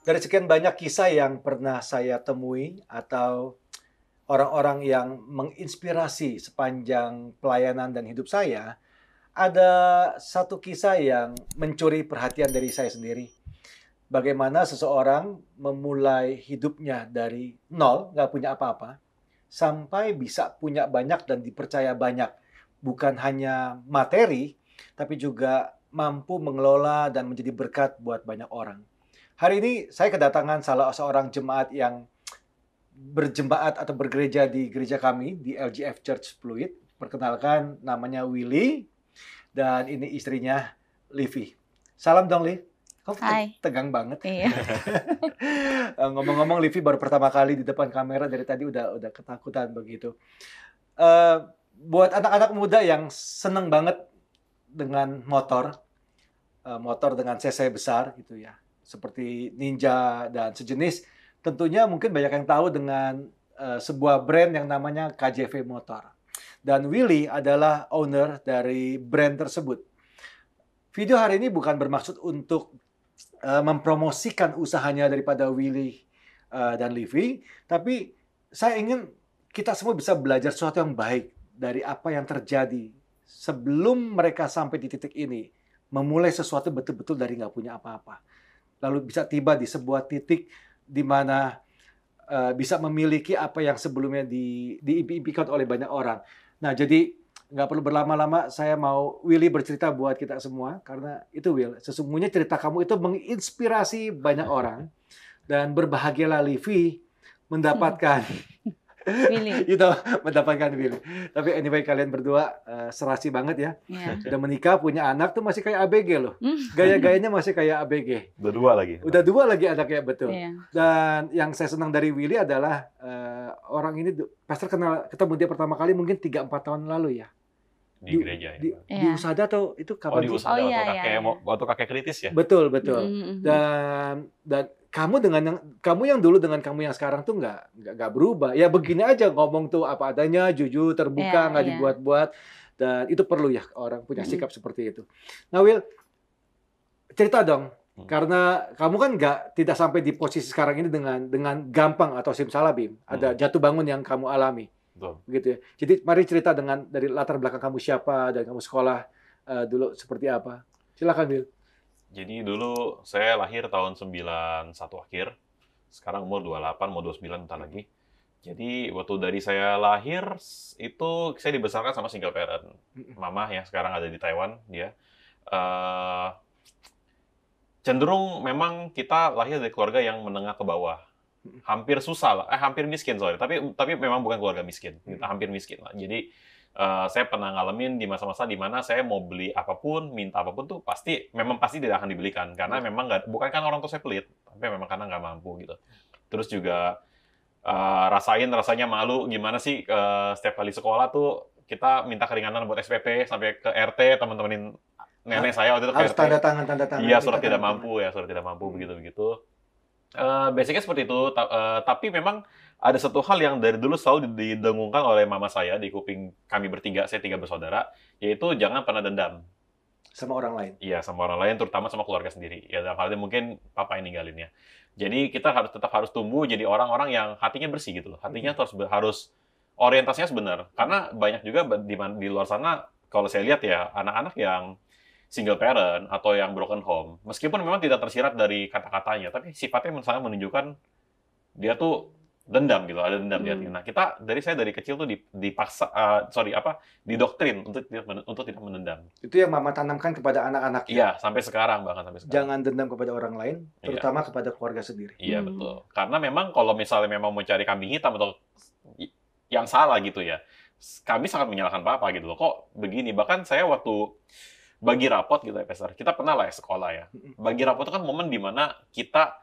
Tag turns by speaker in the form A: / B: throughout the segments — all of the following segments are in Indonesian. A: dari sekian banyak kisah yang pernah saya temui atau orang-orang yang menginspirasi sepanjang pelayanan dan hidup saya, ada satu kisah yang mencuri perhatian dari saya sendiri. Bagaimana seseorang memulai hidupnya dari nol, nggak punya apa-apa, sampai bisa punya banyak dan dipercaya banyak. Bukan hanya materi, tapi juga mampu mengelola dan menjadi berkat buat banyak orang. Hari ini saya kedatangan salah seorang jemaat yang berjemaat atau bergereja di gereja kami di LGF Church Fluid. Perkenalkan namanya Willy dan ini istrinya Livi. Salam dong Liv. Kamu
B: Hai.
A: tegang banget.
B: Iya.
A: Eh, Ngomong-ngomong Livi baru pertama kali di depan kamera dari tadi udah udah ketakutan begitu. Eh, buat anak-anak muda yang seneng banget dengan motor, eh, motor dengan cc besar gitu ya, seperti Ninja dan sejenis, tentunya mungkin banyak yang tahu dengan eh, sebuah brand yang namanya KJV Motor. Dan Willy adalah owner dari brand tersebut. Video hari ini bukan bermaksud untuk eh, mempromosikan usahanya daripada Willy eh, dan Livi, tapi saya ingin kita semua bisa belajar sesuatu yang baik dari apa yang terjadi sebelum mereka sampai di titik ini memulai sesuatu betul-betul dari nggak punya apa-apa lalu bisa tiba di sebuah titik di mana eh, bisa memiliki apa yang sebelumnya di diimpi-impikan oleh banyak orang nah jadi nggak perlu berlama-lama saya mau Willy bercerita buat kita semua karena itu Will sesungguhnya cerita kamu itu menginspirasi banyak orang dan berbahagialah Livi mendapatkan
B: Willy.
A: itu mendapatkan Will. Tapi anyway kalian berdua eh, serasi banget ya.
B: Iya.
A: Udah menikah, punya anak tuh masih kayak ABG loh.
B: Hmm.
A: Gaya-gayanya masih kayak ABG.
C: Udah dua lagi.
A: Udah dua lagi anaknya betul.
B: Iya.
A: Dan yang saya senang dari Willy adalah eh, orang ini du- pastor kenal ketemu dia pertama kali mungkin 3 4 tahun lalu ya.
C: di gereja ya.
A: Di, di
B: Iya.
A: Usada atau itu
C: Oh
A: kapan?
C: di
A: sih?
C: Usada
B: Oh, iya,
C: waktu
B: iya,
C: kakek
B: iya.
C: mau- waktu kakek kritis ya.
A: Betul, betul.
B: Mm-mm.
A: Dan dan kamu dengan yang kamu yang dulu dengan kamu yang sekarang tuh nggak nggak nggak berubah. Ya begini aja ngomong tuh apa adanya, jujur, terbuka,
B: Iya,
A: nggak
B: iya.
A: dibuat-buat. Dan itu perlu ya orang punya
B: Mm-mm.
A: sikap seperti itu. Nah, Will, cerita dong.
C: Hmm.
A: Karena kamu kan nggak tidak sampai di posisi sekarang ini dengan dengan gampang atau simsalabim.
C: Mm.
A: Ada jatuh bangun yang kamu alami
C: Betul.
A: begitu ya. Jadi mari cerita dengan dari latar belakang kamu siapa dan kamu sekolah eh, dulu seperti apa. Silakan, Will.
C: Jadi dulu saya lahir tahun 91 akhir. Sekarang umur 28 mau 29 bentar lagi. Jadi waktu dari saya lahir s- itu saya dibesarkan sama single parent.
A: Mm-mm.
C: Mama yang sekarang ada di Taiwan dia. Eh, cenderung memang kita lahir dari keluarga yang menengah ke bawah.
A: Mm-mm.
C: Hampir susah lah, eh, hampir miskin sorry. Tapi tapi memang bukan keluarga miskin. Kita
A: Mm-mm.
C: hampir miskin lah. Jadi Eh, saya pernah ngalamin di masa-masa di mana saya mau beli apapun, minta apapun tuh pasti, memang pasti tidak akan dibelikan karena memang nggak, bukan karena orang tua saya pelit, tapi memang karena nggak mampu gitu. Terus juga eh, rasain rasanya malu gimana sih eh, setiap kali sekolah tuh kita minta keringanan buat SPP sampai ke RT teman-temanin nenek saya waktu itu ke
A: Harus
C: RT.
A: tanda tangan tanda tangan.
C: Iya,
A: minta
C: surat tidak
A: tanda tangan.
C: mampu ya, surat tidak mampu
A: Hmm.
C: begitu-begitu. Eh basicnya seperti itu, ta- eh, tapi memang ada satu hal yang dari dulu selalu di- didengungkan oleh mama saya di kuping kami bertiga, saya tiga bersaudara, yaitu jangan pernah dendam.
A: sama orang lain.
C: Iya, sama orang lain, terutama sama keluarga sendiri. Ya, dalam hal ini mungkin papa yang ninggalin ya. Jadi kita harus tetap harus tumbuh jadi orang-orang yang hatinya bersih gitu loh. Hatinya terus ber- harus orientasinya sebenar. Karena banyak juga be- di, man- di luar sana kalau saya lihat ya anak-anak yang single parent atau yang broken home, meskipun memang tidak tersirat dari kata-katanya, tapi sifatnya misalnya menunjukkan dia tuh dendam gitu, ada dendam di hatinya. Nah kita dari saya dari kecil tuh di- dipaksa, eh, sorry apa, didoktrin untuk tidak men- untuk tidak menendam.
A: Itu yang mama tanamkan kepada anak-anak.
C: Iya sampai sekarang bahkan sampai sekarang.
A: Jangan dendam kepada orang lain,
C: Iya.
A: terutama kepada keluarga sendiri.
C: Iya
B: Hmm.
C: betul. Karena memang kalau misalnya memang mau cari kambing hitam atau i- yang salah gitu ya, s- kami sangat menyalahkan papa gitu loh. Kok begini? Bahkan saya waktu bagi rapot gitu ya, Pastor. Kita pernah lah ya sekolah ya.
A: Mm-mm.
C: Bagi rapot itu kan momen dimana kita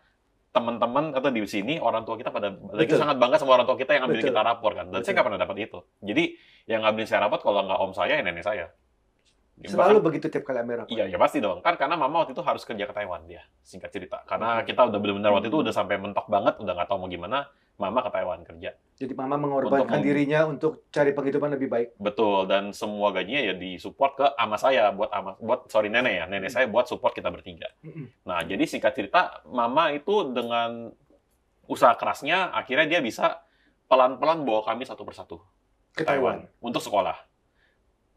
C: teman-teman atau di sini orang tua kita pada lagi
A: Betul.
C: sangat bangga sama orang tua kita yang ngambil
A: Betul.
C: kita rapor kan. Dan saya
A: Betul.
C: nggak pernah dapat itu. Jadi yang ngambilin saya rapot kalau nggak om saya, ya nenek saya. Ya,
A: Selalu begitu tiap kali Amira.
C: Iya, ya pasti dong. Kan karena mama waktu itu harus kerja ke Taiwan dia, singkat cerita. Karena kita udah benar-benar waktu itu udah sampai mentok banget, udah nggak tahu mau gimana. mama ke Taiwan kerja.
A: Jadi mama mengorbankan
C: Untuk mem-
A: dirinya untuk cari penghidupan lebih baik.
C: Betul, dan semua gajinya ya disupport ke ama saya buat ama buat sorry nenek ya, nenek saya buat support kita bertiga.
A: Mm-mm.
C: Nah, jadi singkat cerita, mama itu dengan usaha kerasnya akhirnya dia bisa pelan-pelan bawa kami satu persatu
A: Ke Taiwan.
C: untuk sekolah.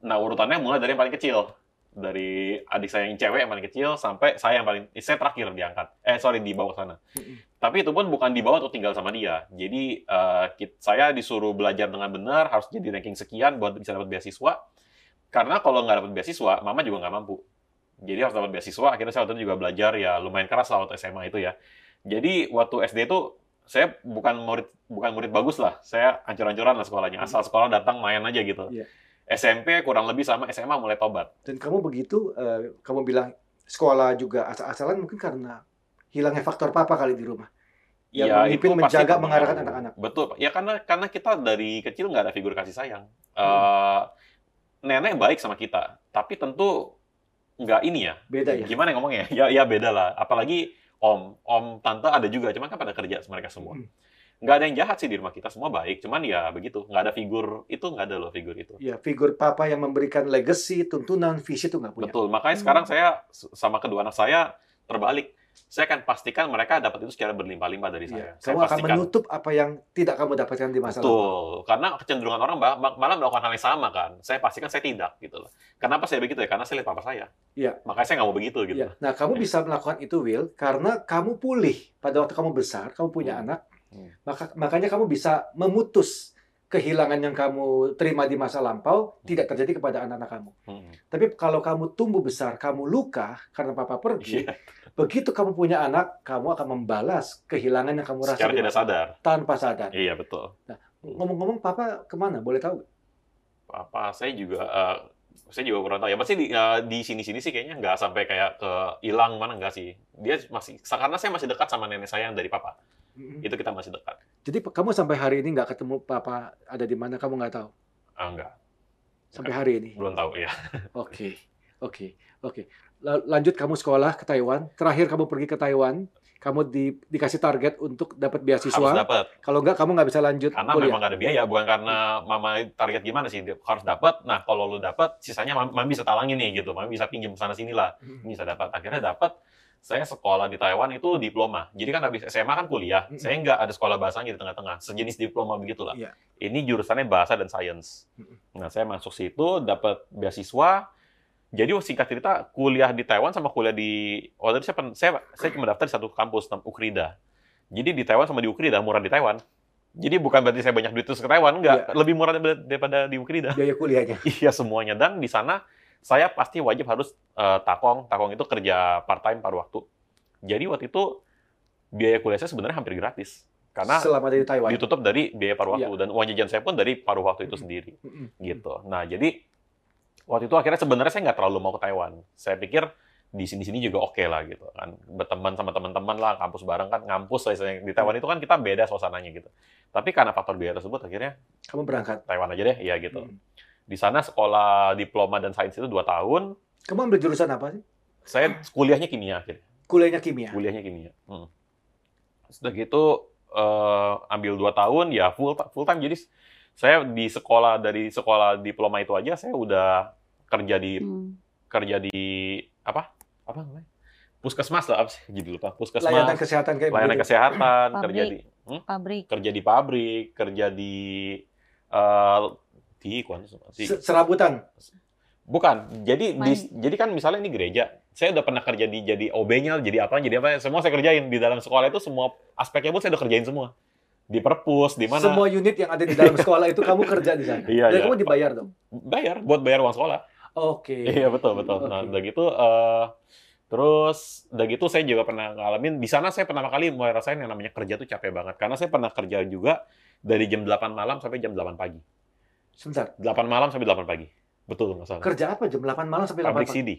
C: Nah, urutannya mulai dari yang paling kecil. Dari adik saya yang cewek yang paling kecil sampai saya yang paling saya terakhir diangkat. Eh, sorry dibawa ke sana.
A: Mm-mm.
C: Tapi itu pun bukan dibawa atau tinggal sama dia. Jadi eh, kit- saya disuruh belajar dengan benar, harus jadi ranking sekian buat bisa dapat beasiswa. Karena kalau nggak dapat beasiswa, mama juga nggak mampu. Jadi harus dapat beasiswa. Akhirnya saya waktu itu juga belajar ya lumayan keras lah waktu SMA itu ya. Jadi waktu SD itu saya bukan murid bukan murid bagus lah. Saya ancur-ancuran lah sekolahnya. Asal sekolah datang main aja gitu.
A: Hmm. Iya.
C: SMP kurang lebih sama SMA mulai tobat.
A: Dan kamu begitu, eh, kamu bilang sekolah juga asal-asalan mungkin karena hilangnya faktor papa kali di rumah. Yang memimpin,
C: Ya, pasti
A: menjaga,
C: terpengaruh.
A: mengarahkan anak-anak.
C: Betul, Pak. ya karena karena kita dari kecil nggak ada figur kasih sayang.
A: Hmm.
C: Eh, nenek baik sama kita, tapi tentu nggak ini ya.
A: Beda ya.
C: Gimana ngomongnya? Ya, ya beda lah. Apalagi om, om, tante ada juga, cuman kan pada kerja mereka semua.
A: Mm.
C: Nggak ada yang jahat sih di rumah kita, semua baik. Cuman ya begitu, nggak ada figur itu nggak ada loh figur itu.
A: Ya, figur papa yang memberikan legacy, tuntunan, visi itu nggak punya.
C: Betul, makanya
B: Hmm.
C: sekarang saya s- sama kedua anak saya terbalik. Saya akan pastikan mereka dapat itu secara berlimpah-limpah dari
A: Iya.
C: saya. Saya
A: Kamu akan
C: pastikan.
A: menutup apa yang tidak kamu dapatkan di masa lalu.
C: Betul, karena kecenderungan orang bah- ma- malah melakukan hal yang sama kan. Saya pastikan saya tidak gitu loh. Kenapa saya begitu ya? Karena saya lihat papa saya.
A: Iya.
C: Makanya saya nggak mau begitu gitu.
A: Ya. Nah, kamu bisa melakukan itu, Will, karena kamu pulih pada waktu kamu besar, kamu punya
C: Hmm.
A: anak,
C: Hmm.
A: maka makanya kamu bisa memutus kehilangan yang kamu terima di masa lampau tidak terjadi kepada anak-anak kamu.
C: Hmm.
A: Tapi kalau kamu tumbuh besar, kamu luka karena papa pergi,
C: Iya.
A: begitu kamu punya anak, kamu akan membalas kehilangan yang kamu
C: Secara
A: rasakan
C: tidak sadar.
A: tanpa sadar.
C: Iya betul.
A: Ngomong-ngomong, papa kemana? Boleh tahu? nggak?
C: Apa saya juga eh, saya juga kurang tahu ya. Pasti di eh, di sini-sini sih kayaknya nggak sampai kayak ke hilang mana nggak sih. Dia masih karena saya masih dekat sama nenek saya yang dari papa.
A: Mm-mm.
C: Itu kita masih dekat.
A: Jadi pe- kamu sampai hari ini nggak ketemu papa ada di mana? Kamu nggak tahu
C: Ah, enggak,
A: sampai hari ini.
C: belum tahu ya.
A: Oke, oke, oke. La- Lanjut kamu sekolah ke Taiwan. Terakhir kamu pergi ke Taiwan, kamu di- dikasih target untuk dapat
C: Harus
A: beasiswa.
C: dapat.
A: Kalau nggak kamu nggak bisa lanjut
C: Karena
A: kuliah.
C: memang nggak ada biaya, bukan karena mama target gimana sih, dia harus dapat. Nah, kalau lu dapat, sisanya mami, mami bisa talangin nih gitu, mami bisa pinjam sana sini lah,
A: Hmm.
C: ini bisa dapat. Akhirnya dapat, saya sekolah di Taiwan itu diploma. Jadi kan habis SMA kan kuliah,
A: Hmm.
C: saya nggak ada sekolah bahasanya di tengah-tengah, sejenis diploma begitulah.
A: Iya.
C: Ini jurusannya bahasa dan sains.
A: Hmm.
C: Nah, saya masuk situ, dapat beasiswa. Jadi singkat cerita, kuliah di Taiwan sama kuliah di, waktu itu saya, pen- saya, saya cuma daftar di satu kampus, Ukrida. Jadi di Taiwan sama di Ukrida, murah di Taiwan. Jadi bukan berarti saya banyak duit terus ke Taiwan, enggak. Lebih murah daripada- daripada di Ukrida.
A: biaya kuliahnya.
C: iya semuanya. Dan di sana saya pasti wajib harus eh, takong. Takong itu kerja part time paruh waktu. Jadi waktu itu biaya kuliah saya sebenarnya hampir gratis. Karena
A: selama dari Taiwan.
C: ditutup dari biaya paruh waktu dan uang jajan saya pun dari paruh waktu itu
A: Mm-mm.
C: sendiri
A: Mm-mm.
C: gitu. Nah, jadi waktu itu akhirnya sebenarnya saya nggak terlalu mau ke Taiwan. Saya pikir di sini-sini juga oke lah gitu kan. Berteman sama teman-teman lah, kampus bareng kan, ngampus lah istilahnya. Di Taiwan itu kan kita beda suasananya gitu. Tapi karena faktor biaya tersebut akhirnya
A: Kamu berangkat.
C: Taiwan aja deh, ya gitu.
A: Mm.
C: Di sana sekolah diploma dan sains itu 2 tahun.
A: Kamu ambil jurusan apa sih?
C: Saya kuliahnya kimia akhirnya.
A: Kuliahnya kimia.
C: Kuliahnya kimia. Hmm. Sudah gitu eh, ambil 2 tahun ya full full time jadi saya di sekolah dari sekolah diploma itu aja saya udah kerja di
B: Hmm.
C: kerja di apa apa namanya puskesmas lah apa sih jadi lupa puskesmas
A: Layanan
C: layanan,
A: kesehatan gitu. kayak begitu.
C: kesehatan
B: Pabrik.
C: kerja di hmm?
B: Pabrik.
C: kerja di pabrik kerja di eh di kon- di-
A: Se- Serabutan.
C: bukan jadi di,
B: Main.
C: jadi kan misalnya ini gereja saya udah pernah kerja di jadi OB-nya jadi apa jadi apa semua saya kerjain di dalam sekolah itu semua aspeknya pun saya udah kerjain semua di perpus di mana
A: Semua unit yang ada di dalam sekolah itu kamu kerja di sana.
C: Iya,
A: Dan
C: iya.
A: kamu dibayar dong.
C: bayar buat bayar uang sekolah
A: Oke.
C: Iya betul betul. Nah
A: Oke.
C: udah gitu eh, terus udah gitu saya juga pernah ngalamin di sana saya pertama kali mulai rasain yang namanya kerja tuh capek banget karena saya pernah kerja juga dari jam 8 malam sampai jam 8 pagi.
A: Sebentar.
C: 8 malam sampai 8 pagi. Betul nggak salah.
A: Kerja apa jam 8 malam sampai 8
C: Pabrik
A: pagi?
C: CD,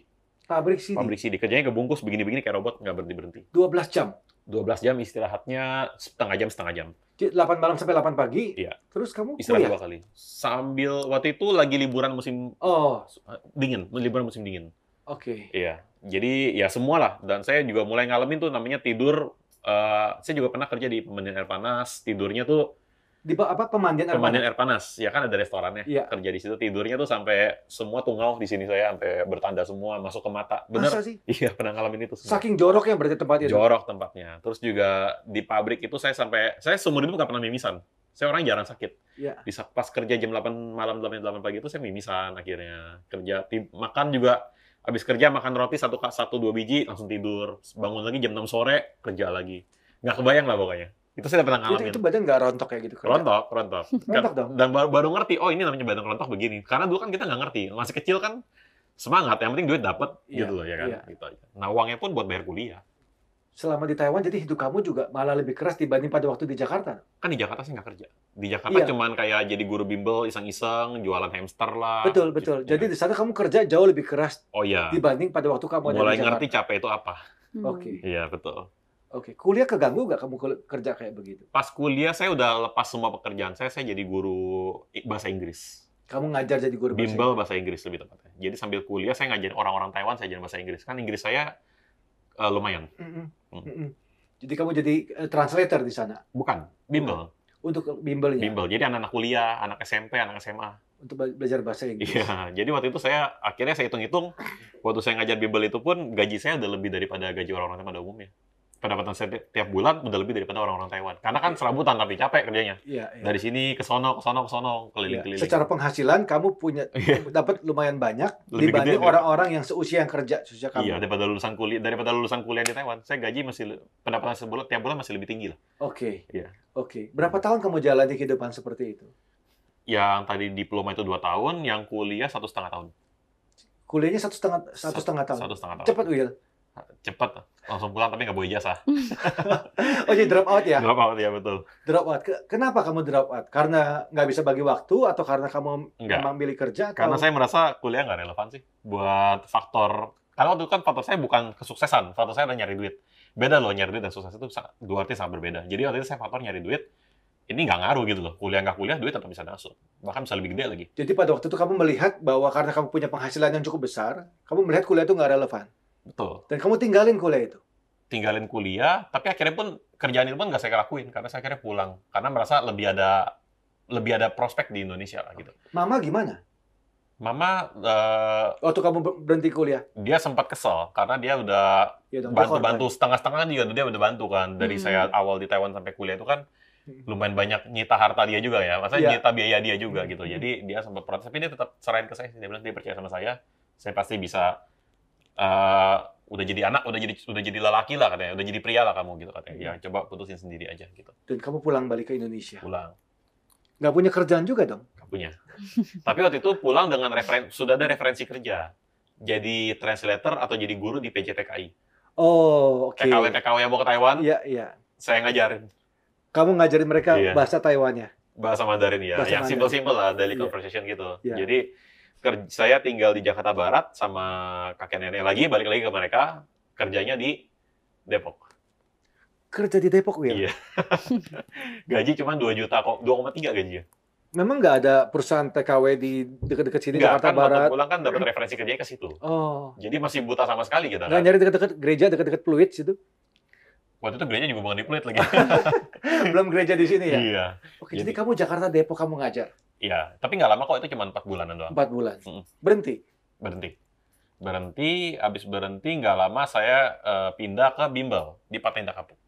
A: Pabrik sini.
C: pabrik CD. Kerjanya kebungkus begini-begini kayak robot nggak berhenti berhenti.
A: 12 jam.
C: 12 jam istirahatnya setengah jam setengah jam.
A: Jadi 8 malam sampai 8 pagi.
C: Iya.
A: Terus kamu
C: Istirahat
A: kuliah.
C: dua kali. Sambil waktu itu lagi liburan musim
A: Oh,
C: eh, dingin, liburan musim dingin.
A: oke.
C: Iya. Jadi ya semua lah. Dan saya juga mulai ngalamin tuh namanya tidur eh, saya juga pernah kerja di pemandian air panas, tidurnya tuh
A: Di ba- apa pemandian air
C: pemandian air panas, ya kan ada restorannya.
A: Iya.
C: Kerja di situ tidurnya tuh sampai semua tungau di sini saya sampai bertanda semua masuk ke mata.
A: panas? Masa
C: Bener.
A: sih?
C: Iya, pernah ngalamin itu semua.
A: Saking joroknya berarti tempatnya. itu.
C: Jorok tempatnya. Terus juga di pabrik itu saya sampai saya seumur hidup nggak pernah mimisan. Saya orang jarang sakit.
A: Iya.
C: Di sa- pas kerja jam 8 malam sampai 8 pagi itu saya mimisan akhirnya. Kerja ti- makan juga habis kerja makan roti satu ka- satu dua biji langsung tidur. Bangun lagi jam 6 sore kerja lagi. Nggak kebayang lah pokoknya. Itu saya pernah
A: Itu,
C: ngalamin.
A: itu badan nggak rontok ya gitu? kerja?
C: Rontok, rontok. Kan,
A: Rontok dong.
C: Dan baru, baru ngerti, oh ini namanya badan rontok begini. Karena dulu kan kita nggak ngerti. Masih kecil kan semangat, yang penting duit dapat
A: Iya,
C: gitu loh ya kan.
A: iya.
C: Gitu aja. Nah uangnya pun buat bayar kuliah.
A: Selama di Taiwan, jadi hidup kamu juga malah lebih keras dibanding pada waktu di Jakarta.
C: kan di Jakarta sih nggak kerja. Di Jakarta
A: Iya.
C: cuman kayak jadi guru bimbel, iseng-iseng, jualan hamster lah.
A: betul, betul.
C: Gitu.
A: Jadi di sana kamu kerja jauh lebih keras
C: oh iya,
A: dibanding pada waktu kamu ada
C: mulai
A: di Jakarta.
C: ngerti capek itu apa.
A: Oke,
B: Hmm.
C: Iya betul.
A: oke. Kuliah keganggu nggak kamu kul- kerja kayak begitu?
C: Pas kuliah saya udah lepas semua pekerjaan saya, saya jadi guru i- bahasa Inggris.
A: Kamu ngajar jadi guru bahasa
C: Bimbel bahasa Inggris lebih tepatnya. Jadi sambil kuliah saya ngajarin orang-orang Taiwan saya ajarin bahasa Inggris. Kan Inggris saya eh, lumayan.
A: Mm-mm.
C: Hmm.
A: Mm-mm. Jadi kamu jadi eh, translator di sana
C: Bukan, bimbel.
A: untuk bimbelnya,
C: Bimbel. Jadi anak-anak kuliah, anak SMP, anak SMA.
A: untuk be- belajar bahasa Inggris.
C: Iya, jadi waktu itu saya akhirnya saya hitung-hitung waktu saya ngajar bimbel itu pun gaji saya udah lebih daripada gaji orang-orang Taiwan pada umumnya. Pendapatan saya ti- tiap bulan udah lebih daripada orang-orang Taiwan. Karena kan serabutan tapi capek kerjanya.
A: Iya. iya.
C: Dari sini ke sono, ke sono, ke sono,
A: Iya.
C: keliling-keliling. Iya.
A: Secara penghasilan kamu punya dapat lumayan banyak
C: Lebih
A: dibanding
C: gede,
A: orang-orang yang seusia yang kerja seusia kamu.
C: Iya, daripada lulusan kuliah daripada lulusan kuliah di Taiwan, saya gaji masih le- pendapatan sebulan tiap bulan masih lebih tinggi lah.
A: Oke.
C: Iya.
A: Oke. Berapa tahun kamu jalani kehidupan seperti itu?
C: Yang tadi diploma itu dua tahun, yang kuliah satu setengah tahun.
A: Kuliahnya satu setengah satu setengah tahun.
C: Satu setengah tahun.
A: Cepat Will.
C: Cepet. Langsung pulang tapi nggak bawa ijazah.
A: Oh jadi drop out ya?
C: Drop out ya betul.
A: Drop out. Ke- Kenapa kamu drop out? Karena nggak bisa bagi waktu atau karena kamu
C: Enggak.
A: memang milih kerja?
C: Karena
A: atau-
C: saya merasa kuliah nggak relevan sih buat faktor. Karena waktu itu kan faktor saya bukan kesuksesan, faktor saya adalah nyari duit. Beda loh nyari duit dan sukses itu sa- dua arti sangat berbeda. Jadi waktu itu saya faktor nyari duit, ini nggak ngaruh gitu loh. Kuliah nggak kuliah, duit tetap bisa masuk. Bahkan bisa lebih gede lagi.
A: Jadi pada waktu itu kamu melihat bahwa karena kamu punya penghasilan yang cukup besar, kamu melihat kuliah itu nggak relevan
C: Betul.
A: dan kamu tinggalin kuliah itu.
C: Tinggalin kuliah, tapi akhirnya pun kerjaan itu pun nggak saya lakuin. Karena saya akhirnya pulang. Karena merasa lebih ada lebih ada prospek di Indonesia lah gitu.
A: Mama gimana?
C: Mama, eh,
A: Waktu kamu ber- berhenti kuliah?
C: dia sempat kesel karena dia udah
A: Ya dong, dia korban.
C: bantu-bantu setengah-setengah kan juga dia udah bantu kan dari
B: Hmm.
C: saya awal di Taiwan sampai kuliah itu kan
A: Hmm.
C: lumayan banyak nyita harta dia juga ya maksudnya
A: Iya.
C: nyita biaya dia juga gitu
A: Hmm.
C: jadi dia sempat protes tapi dia tetap serahin ke saya dia bilang dia percaya sama saya saya pasti bisa eh, udah jadi anak udah jadi udah jadi lelaki lah katanya udah jadi pria lah kamu gitu katanya ya coba putusin sendiri aja gitu
A: Dan kamu pulang balik ke Indonesia.
C: pulang
A: Nggak punya kerjaan juga dong.
C: nggak punya tapi waktu itu pulang dengan referen sudah ada referensi kerja jadi translator atau jadi guru di PJTKI
A: Oh, oke.
C: TKW TKW yang mau ke Taiwan
A: Iya, iya.
C: saya ngajarin
A: Kamu ngajarin mereka
C: Iya.
A: bahasa Taiwannya.
C: bahasa Mandarin ya,
A: Bahasa
C: yang
A: Mandarin.
C: simple-simple lah daily
A: Iya.
C: conversation gitu.
A: Iya.
C: Jadi ker- saya tinggal di Jakarta Barat sama kakek nenek lagi, balik lagi ke mereka, kerjanya di Depok.
A: Kerja di Depok, Will.
C: Iya. Gaji cuma 2 juta kok, 2,3 gajinya.
A: Memang nggak ada perusahaan TKW di dekat-dekat sini,
C: Enggak,
A: Jakarta
C: kan waktu
A: Barat.
C: pulang kan dapat referensi kerjanya ke situ.
A: Oh,
C: Jadi masih buta sama sekali kita.
A: nggak
C: Kan?
A: nyari dekat-dekat gereja, dekat-dekat Pluit situ.
C: Waktu itu gereja juga bukan di Pluit lagi.
A: Belum gereja di sini ya.
C: Iya.
A: Oke, jadi
C: Jadi-
A: kamu Jakarta Depok kamu ngajar
C: Iya, tapi nggak lama kok itu cuma 4 bulanan doang.
A: empat bulan.
C: Mm.
A: Berhenti.
C: Berhenti. Berhenti, habis berhenti nggak lama saya eh, pindah ke bimbel di Paten Kapuk.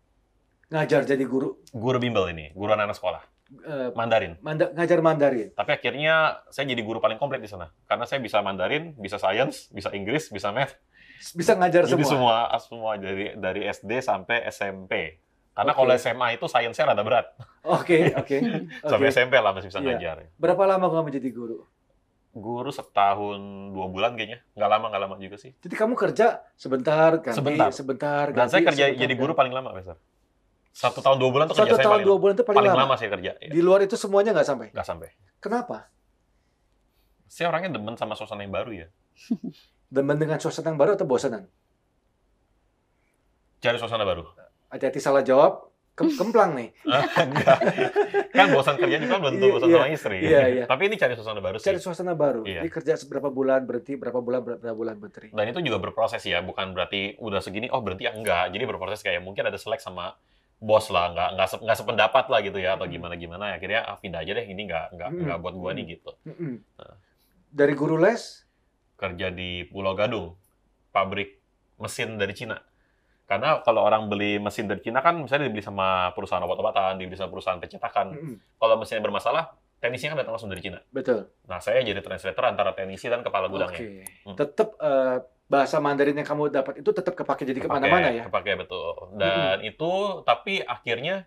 A: Ngajar jadi guru
C: Guru bimbel ini, guru anak-anak sekolah.
A: eh,
C: Mandarin.
A: manda- ngajar Mandarin.
C: Tapi akhirnya saya jadi guru paling komplit di sana. Karena saya bisa Mandarin, bisa Science, bisa Inggris, bisa Math.
A: Bisa ngajar
C: Jadi
A: semua.
C: semua semua dari dari SD sampai SMP. Karena
A: Oke.
C: kalau SMA itu science-nya rada berat.
A: Oke, oke.
C: Iya. Sampai
A: Oke.
C: SMP lah masih bisa
A: Iya.
C: ngajar.
A: Berapa lama kamu jadi guru?
C: Guru setahun dua bulan kayaknya. Nggak lama, nggak lama juga sih.
A: Jadi kamu kerja sebentar, ganti, sebentar,
C: Sebentar.
A: sebentar
C: Dan saya
A: ganti,
C: kerja
A: sebentar,
C: jadi
A: ganti.
C: guru paling lama, Profesor. Satu tahun dua bulan
A: ya?
C: tuh
A: Satu
C: kerja saya
A: tahun
C: paling,
A: dua bulan itu paling,
C: paling
A: lama.
C: lama saya kerja. Iya.
A: Di luar itu semuanya nggak sampai.
C: Nggak sampai.
A: Kenapa?
C: Saya orangnya demen sama suasana yang baru ya.
A: Demen dengan suasana yang baru atau bosanan?
C: Cari suasana baru. Ah,
A: Hati-hati salah jawab. ke- kemplang nih.
C: Enggak. kan bosan kerja juga belum tentu
A: Iya,
C: bosan
A: iya.
C: sama istri.
A: Iya, iya.
C: Tapi ini cari suasana baru
A: Cari
C: sih.
A: suasana baru.
C: Iya.
A: Jadi kerja seberapa bulan berhenti, berapa bulan berapa bulan berhenti.
C: Dan itu juga berproses ya, bukan berarti udah segini, oh berhenti ya enggak. Jadi berproses kayak mungkin ada selek sama bos lah, nggak nggak se- nggak sependapat lah gitu ya atau
A: Mm.
C: gimana gimana. Akhirnya ah, pindah aja deh, ini nggak nggak
A: Mm.
C: nggak buat gua nih gitu.
A: Mm-mm. Dari guru les,
C: Kerja di Pulau Gadung, pabrik mesin dari Cina. Karena kalau orang beli mesin dari Cina kan misalnya dibeli sama perusahaan obat-obatan, dibeli sama perusahaan pencetakan.
A: Mm-mm.
C: Kalau mesinnya bermasalah, teknisnya kan datang langsung dari Cina.
A: betul.
C: Nah, saya jadi translator antara teknisi dan kepala gudangnya.
A: Oke.
C: Hmm.
A: Tetap eh, bahasa Mandarin yang kamu dapat itu tetap kepake jadi
C: Kepake-
A: kemana-mana ya.
C: Kepake betul. Dan itu tapi akhirnya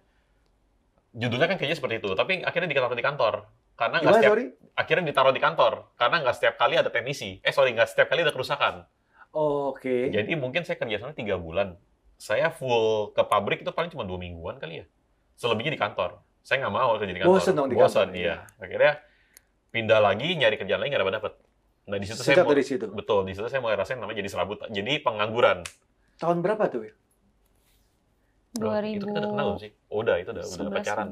C: judulnya kan kayaknya seperti itu, tapi akhirnya ditaruh di kantor. Karena nggak
A: Gimana
C: setiap
A: sorry?
C: akhirnya ditaruh di kantor karena nggak setiap kali ada teknisi. Eh sorry nggak setiap kali ada kerusakan.
A: Oh, Oke.
C: Jadi mungkin saya kerja sana tiga bulan. Saya full ke pabrik itu paling cuma dua mingguan kali ya. Selebihnya di kantor. Saya nggak mau kerja di kantor.
A: Bosen dong di kantor,
C: Bosen, iya. Akhirnya pindah lagi nyari kerjaan lagi nggak dapat dapat. Nah di situ saya
A: Sejak
C: mau-
A: dari situ.
C: betul di situ saya mulai rasain namanya jadi serabut. Jadi pengangguran.
A: Tahun berapa tuh? Wil?
C: Wah,
B: 2000
C: Itu kita udah kenal belum sih? Oh, udah, itu udah, udah
B: 11,
C: pacaran.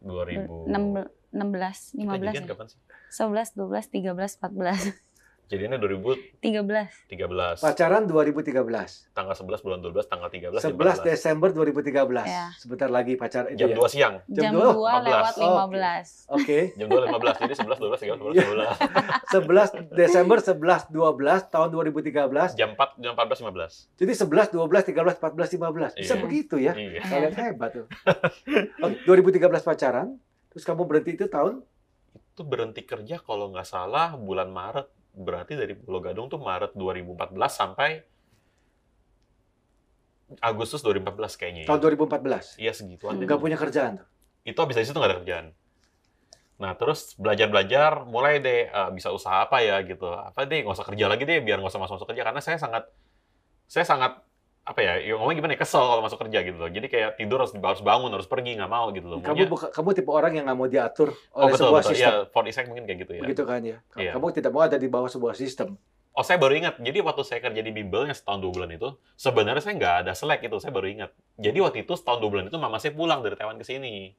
C: 2000.
B: 16,
C: Kita jadian
B: 15, ya?
C: kan kapan sih?
B: 11, 12, 13, 14,
C: Jadiannya
B: 13.
C: 2013.
A: Pacaran 2013.
C: Tanggal 11 bulan 12, tanggal 13 jam
A: 11
C: 14.
A: Desember 2013.
B: Iya.
A: Sebentar lagi pacaran itu
C: Jam
A: ya.
C: 2 siang.
A: Jam
B: Jam
A: dua,
B: 2 lewat
C: 14.
A: Oh,
B: 15.
A: Oke.
C: Jam 2 15. Jadi 11 12
A: Iya. 11
C: 13 14
A: Desember 11 12 tahun 2013.
C: 15. Jam 4 jam 14 15.
A: Jadi 11 12 13 14 15. Bisa
C: Iya.
A: begitu ya.
C: Iya.
A: Kalian hebat tuh. Oke, 2013 pacaran, terus kamu berhenti itu tahun
C: Itu berhenti kerja kalau nggak salah bulan Maret. Berarti dari Pulau Gadung tuh Maret 2014 sampai Agustus 2014 kayaknya. ya.
A: tahun 2014.
C: Iya segituan. deh.
A: Enggak punya kerjaan tuh.
C: itu abis dari situ nggak ada kerjaan. Nah terus belajar-belajar, mulai deh eh, bisa usaha apa ya gitu. Apa deh nggak usah kerja lagi deh, biar nggak usah masuk-masuk kerja karena saya sangat, saya sangat apa ya, ya ngomongnya gimana ya, kesel kalau masuk kerja gitu loh. Jadi kayak tidur harus, harus bangun, harus pergi, nggak mau gitu loh.
A: Kamu
C: Maunya-
A: buka, kamu tipe orang yang nggak mau diatur
C: oh
A: oleh
C: betul,
A: sebuah
C: betul. Iya,
A: sistem.
C: for Isaac mungkin kayak gitu ya.
A: Begitu kan ya.
C: Iya.
A: Kamu tidak mau ada di bawah sebuah sistem.
C: Oh saya baru ingat, jadi waktu saya kerja di Bimbel yang setahun dua bulan itu, sebenarnya saya nggak ada selek itu, saya baru ingat. Jadi waktu itu setahun dua bulan itu mama saya pulang dari Taiwan ke sini.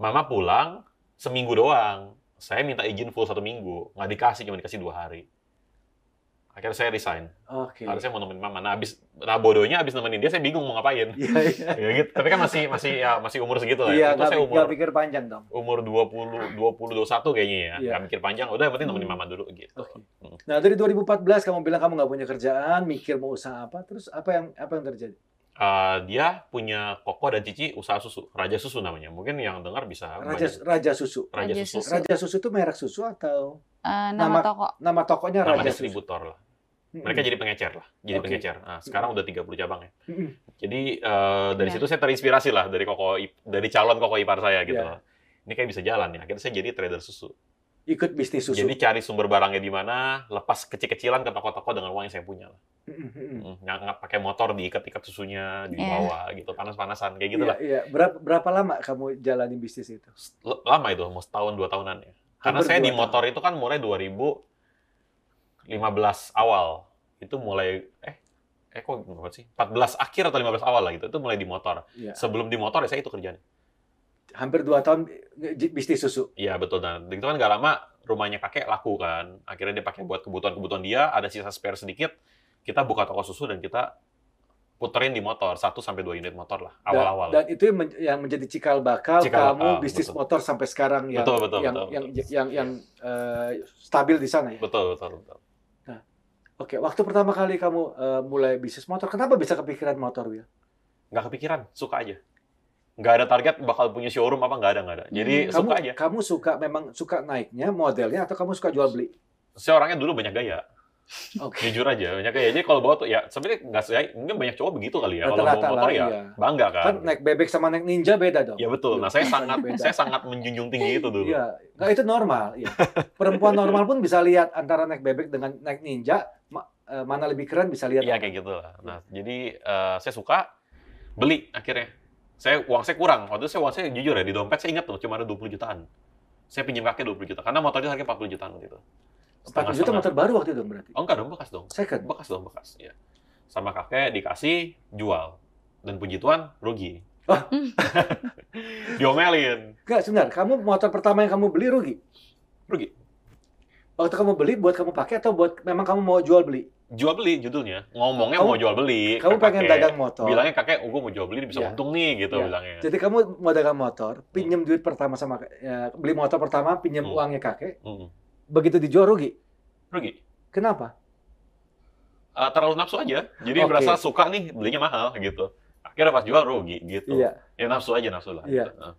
C: Mama pulang seminggu doang. Saya minta izin full satu minggu, nggak dikasih, cuma dikasih dua hari. Akhirnya saya resign.
A: Oke.
C: Harusnya mau nemenin mama. Nah, abis, nah bodohnya abis nemenin dia, saya bingung mau ngapain.
A: Iya, iya.
C: ya gitu. Tapi kan masih masih ya masih umur segitu lah.
A: Iya,
C: ya. Itu
A: nggak
C: saya
A: pi- nggak
C: umur
A: pikir panjang dong.
C: umur 20 20 21 kayaknya ya.
A: Iya.
C: Nggak mikir panjang, udah yang penting nemenin
B: Hmm.
C: mama dulu gitu.
A: Oke.
C: Hmm.
A: Nah, dari 2014 kamu bilang kamu nggak punya kerjaan, mikir mau usaha apa, terus apa yang apa yang terjadi?
C: Eh, dia punya koko dan cici usaha susu, Raja Susu namanya. Mungkin yang dengar bisa
A: Raja
C: banyak-
A: Raja Susu.
C: ya? Raja,
B: Raja
C: Susu.
B: Susu.
A: Raja Susu itu merek susu atau
B: Eh,
A: Nama-
B: nama toko
C: Oh,
A: nama tokonya Iya,
C: Nama
A: Raja Susu? Hmm.
C: distributor lah. Mereka jadi pengecer lah,
A: Oke.
C: jadi
A: Hmm.
C: pengecer. Nah, sekarang udah 30 cabang ya.
A: Mm-mm.
C: Jadi eh, dari
B: Ya.
A: Iya.
C: situ saya terinspirasi lah dari koko ip- dari calon koko ipar saya gitu.
A: Ya.
C: loh. Ini kayak bisa jalan ya. Akhirnya saya jadi trader susu.
A: ikut bisnis susu.
C: Jadi cari sumber barangnya di mana, lepas kecil-kecilan ke toko-toko dengan uang yang saya punya lah.
A: Mm-mm.
C: Mm, Nggak, nggak pakai motor diikat-ikat susunya di
B: Ya.
C: bawah gitu, panas-panasan kayak gitu lah.
A: Iya, iya. Berapa, berapa lama kamu jalani bisnis itu?
C: L- lama itu, mau setahun dua tahunan ya. Karena
A: Hampir
C: saya
A: dua
C: di
A: tahun.
C: motor itu kan mulai 2015 awal. Itu mulai eh eh kok berapa sih? 14 akhir atau 15 awal lah gitu. Itu mulai di motor.
A: Iya.
C: Sebelum di motor ya saya itu kerjaan.
A: Hampir dua tahun eh, j- bisnis susu.
C: Iya betul dan itu kan gak lama rumahnya kakek laku kan. Akhirnya dia pakai buat kebutuhan-kebutuhan dia, ada sisa spare sedikit. Kita buka toko susu dan kita puterin di motor 1 sampai 2 unit motor lah
A: Dan-
C: awal-awal.
A: Dan, itu yang, men- yang menjadi cikal bakal
C: Cikal
A: kamu
C: bakal,
A: bisnis
C: betul.
A: motor sampai sekarang yang
C: Betul, betul,
A: yang
C: betul,
A: yang yang, yang, eh, stabil di sana ya.
C: Betul, betul, betul.
A: Oke, waktu pertama kali kamu eh, mulai bisnis motor, kenapa bisa kepikiran motor, Will?
C: Nggak kepikiran, suka aja. Nggak ada target bakal punya showroom apa nggak ada nggak ada.
B: Hmm.
C: Jadi
A: Kamu
C: suka aja.
A: kamu suka memang suka naiknya, modelnya atau kamu suka jual beli?
C: saya orangnya dulu banyak gaya,
A: Oke.
C: jujur aja banyak gaya. Jadi kalau bawa tuh ya sebenarnya nggak saya mungkin banyak cowok begitu kali ya. Kalau bawa
A: Rata-rata
C: motor
A: lah,
C: ya
A: iya.
C: bangga kan.
A: Kan naik bebek sama naik ninja beda dong.
C: Ya betul. Nah saya sangat
A: Beda.
C: saya sangat menjunjung tinggi itu dulu.
A: Iya, nah, itu normal. Iya. Perempuan normal pun bisa lihat antara naik bebek dengan naik ninja ma- eh, mana lebih keren bisa lihat.
C: Iya kayak gitu lah. Nah jadi eh, saya suka beli akhirnya. Saya uang saya kurang. Waktu itu saya uang saya jujur ya di dompet saya ingat tuh cuma ada 20 jutaan. Saya pinjam kakek 20 juta karena motornya harga 40 jutaan gitu.
A: 40 juta motor baru waktu itu dong berarti.
C: Oh enggak dong bekas dong. iya.
A: Second.
C: Bekas dong bekas. Ya. Sama kakek dikasih jual dan puji Tuhan rugi.
A: Wah.
C: Diomelin.
A: Enggak, sebentar. Kamu motor pertama yang kamu beli rugi?
C: Rugi.
A: Waktu kamu beli buat kamu pakai atau buat memang kamu mau jual beli?
C: Jual beli judulnya. Ngomongnya
A: Kamu-
C: mau jual beli.
A: Kamu
C: ke
A: pengen
C: kakek.
A: dagang motor.
C: Bilangnya kakek, oh, gue mau jual beli bisa
A: Iya.
C: untung nih gitu
A: Iya.
C: bilangnya.
A: Jadi kamu mau dagang motor, pinjam duit pertama sama ya, beli motor pertama, pinjam
C: Hmm.
A: uangnya kakek.
C: Mm.
A: Begitu dijual rugi.
C: Rugi.
A: Kenapa?
C: Eh, terlalu nafsu aja. Jadi
A: Oke.
C: merasa suka nih belinya mahal gitu. Akhirnya pas jual rugi gitu.
A: Iya.
C: Ya nafsu aja nafsu lah.
A: Iya.
C: gitu. Heeh.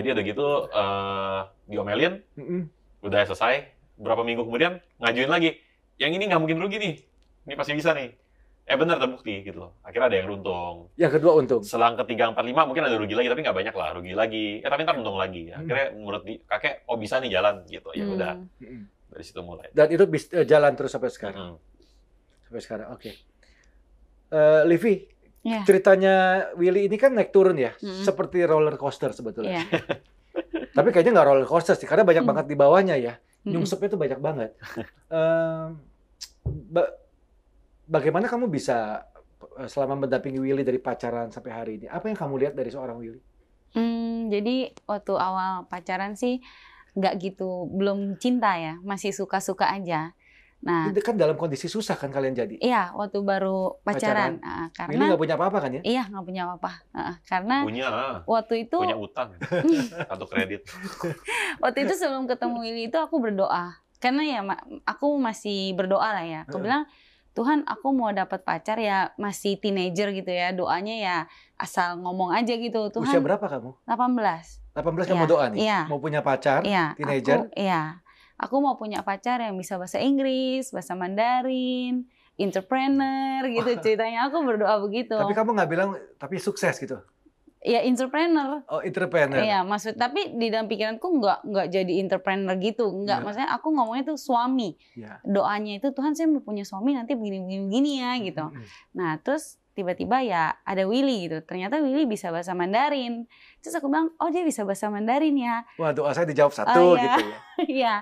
C: Jadi udah gitu eh, diomelin,
A: Mm-mm.
C: udah selesai. Berapa minggu kemudian ngajuin lagi. Yang ini nggak mungkin rugi nih. Ini pasti bisa nih. Eh benar terbukti gitu loh. Akhirnya ada yang runtung.
A: Yang kedua untung.
C: Selang ketiga empat lima mungkin ada rugi lagi tapi nggak banyak lah rugi lagi. Eh tapi ntar untung lagi.
A: Hmm.
C: Akhirnya menurut di, kakek oh bisa nih jalan gitu. Ya udah
B: Hmm.
A: Mm-mm.
C: dari situ mulai.
A: Dan itu bis- eh, jalan terus sampai sekarang.
C: Mm.
A: Sampai sekarang. Oke. Eh, Livi,
B: Iya.
A: ceritanya Willy ini kan naik turun ya,
B: Mm-mm.
A: seperti roller coaster sebetulnya.
B: Iya.
A: Tapi kayaknya nggak roller coaster sih, karena banyak
B: Hmm.
A: banget di bawahnya ya.
B: Mm-mm.
A: Nyungsepnya tuh banyak banget. Em, ba- bagaimana kamu bisa eh, selama mendampingi Willy dari pacaran sampai hari ini? Apa yang kamu lihat dari seorang Willy?
B: Hmm, jadi waktu awal pacaran sih nggak gitu, belum cinta ya, masih suka-suka aja. Nah,
A: Itu kan dalam kondisi susah kan kalian jadi.
B: iya waktu baru pacaran, ah,
A: Willy
B: karena
A: nggak punya apa-apa kan ya?
B: iya nggak punya apa-apa, Ah, karena
C: Punya ah.
B: waktu itu
C: punya utang kartu kredit.
B: waktu itu sebelum ketemu Willy itu aku berdoa, karena ya ma- aku masih berdoa lah ya. Aku
A: Heeh.
B: bilang Tuhan, aku mau dapat pacar ya masih teenager gitu ya, doanya ya asal ngomong aja gitu.
A: Usia
B: Tuhan, 18.
A: berapa kamu? 18
B: Iya,
A: kamu doa nih?
B: iya.
A: Mau punya pacar?
B: Iya,
A: teenager.
B: Aku, iya. Aku mau punya pacar yang bisa bahasa Inggris, bahasa Mandarin, entrepreneur gitu ceritanya. Aku berdoa begitu.
A: Tapi kamu nggak bilang, tapi sukses gitu.
B: Ya entrepreneur.
A: Oh, entrepreneur.
B: Iya, maksud tapi di dalam pikiranku nggak nggak jadi entrepreneur gitu. Nggak,
A: Iya.
B: maksudnya aku ngomongnya tuh suami.
A: Iya.
B: Doanya itu Tuhan saya mau punya suami nanti begini-begini ya gitu.
A: Mm-mm.
B: Nah, terus tiba-tiba ya ada Willy gitu. Ternyata Willy bisa bahasa Mandarin. Terus aku bilang, "Oh, dia bisa bahasa Mandarin ya."
A: Wah, doa saya dijawab satu
B: iya.
A: gitu ya.
B: Iya.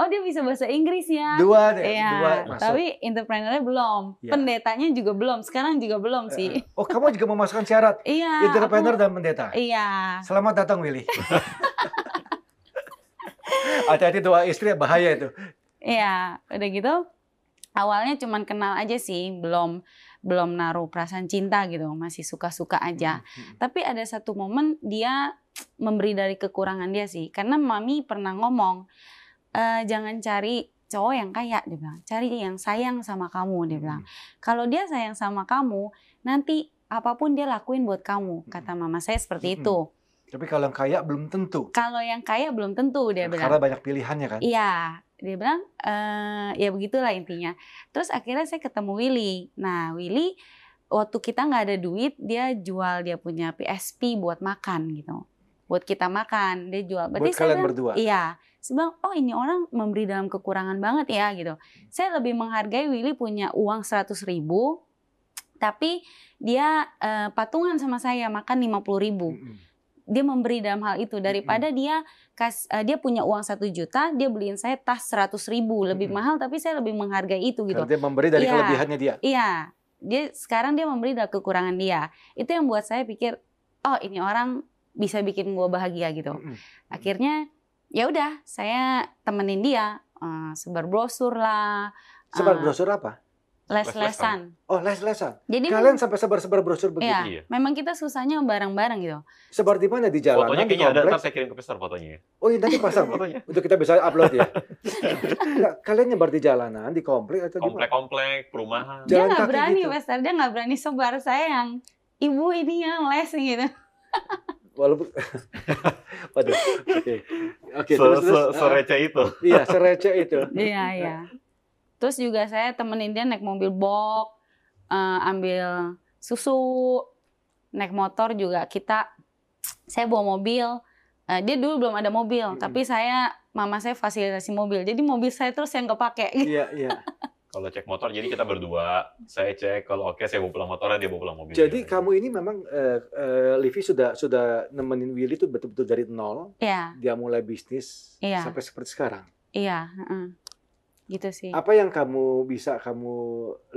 B: "Oh, dia bisa bahasa Inggris ya."
A: Dua deh, dua
B: Iya,
A: masuk.
B: tapi entrepreneurnya belum,
A: Iya.
B: pendetanya juga belum, sekarang juga belum
A: Eh,
B: sih.
A: Oh, kamu juga memasukkan syarat
B: Iya.
A: entrepreneur
B: aku-
A: dan pendeta.
B: Iya.
A: Selamat datang Willy. Hati-hati doa istri ya, bahaya itu.
B: Iya, udah gitu. Awalnya cuman kenal aja sih, belum belum naruh perasaan cinta gitu, masih suka-suka aja. Tapi ada satu momen dia memberi dari kekurangan dia sih, karena mami pernah ngomong, "Eh, jangan cari cowok yang kaya, dia bilang, cari yang sayang sama kamu,
A: Hmm.
B: dia Iya, bilang. kalau dia sayang sama kamu, nanti apapun dia lakuin buat kamu, kata mama saya seperti
A: Mm-mm.
B: itu.
A: Tapi kalau yang kaya belum tentu.
B: Kalau yang kaya belum tentu dia bilang.
A: Karena banyak pilihannya kan.
B: Iya, dia bilang eh ya begitulah intinya. Terus akhirnya saya ketemu Willy. Nah, Willy waktu kita nggak ada duit, dia jual dia punya PSP buat makan gitu. Buat kita makan, dia jual. Berarti
A: Buat
B: saya
A: kalian
B: bilang,
A: berdua.
B: Iya. Sebab oh ini orang memberi dalam kekurangan banget ya gitu. Saya lebih menghargai Willy punya uang 100 ribu. Tapi dia eh, patungan sama saya makan 50 ribu.
A: Mm-mm.
B: Dia memberi dalam hal itu daripada dia kas, eh, dia punya uang satu juta, dia beliin saya tas 100 ribu lebih
A: Mm-mm.
B: mahal. Tapi saya lebih menghargai itu gitu.
A: Karena dia memberi dari
B: Iya.
A: kelebihannya dia.
B: Iya, dia sekarang dia memberi dari kekurangan dia. Itu yang buat saya pikir, oh ini orang bisa bikin gua bahagia gitu.
A: Mm-mm.
B: Akhirnya ya udah, saya temenin dia eh, sebar brosur lah,
A: Sebar
B: Ah.
A: brosur apa?
B: les-lesan.
A: Oh, les-lesan.
B: Jadi
A: Kalian sampai sebar-sebar brosur begitu.
B: kan- Iya,
C: Iya.
B: memang kita susahnya bareng-bareng gitu.
A: Sebar di mana? Di jalanan,
C: Fotonya
A: di
C: kayaknya ada, ntar
A: kompleks.
C: saya kirim ke Mister fotonya. ya.
A: Oh, iya, nanti pasang.
C: Fotonya.
A: Untuk kita bisa upload ya. Nggak, kalian nyebar di jalanan, di kompleks atau di mana?
C: Komplek-komplek,
A: Ja- Jalan
C: perumahan.
B: dia nggak
A: kaki
B: berani,
A: gitu.
B: Wester. Dia nggak berani sebar. Saya yang ibu ini yang les gitu.
A: Walaupun Waduh. Oke. Oke,
C: Se-
A: terus terus.
C: se-
A: ah.
C: Sereceh itu.
A: Iya, sereceh itu.
B: Iya, iya. Terus juga saya temenin dia naik mobil box, eh, ambil susu, naik motor juga kita. Saya bawa mobil. Eh, dia dulu belum ada mobil,
A: Mm-mm.
B: tapi saya mama saya fasilitasi mobil. Jadi mobil saya terus yang kepake.
A: Iya, iya.
C: Kalau cek motor, jadi kita berdua. Saya cek, kalau oke saya bawa pulang motornya, dia bawa pulang
B: Iya.
C: mobilnya.
A: Jadi kamu ini memang eh, eh, Livi sudah sudah nemenin Willy tuh betul-betul dari nol,
B: Iya,
A: dia mulai bisnis
B: Iya.
A: sampai seperti sekarang.
B: iya. heeh. Gitu sih.
A: Apa yang kamu bisa kamu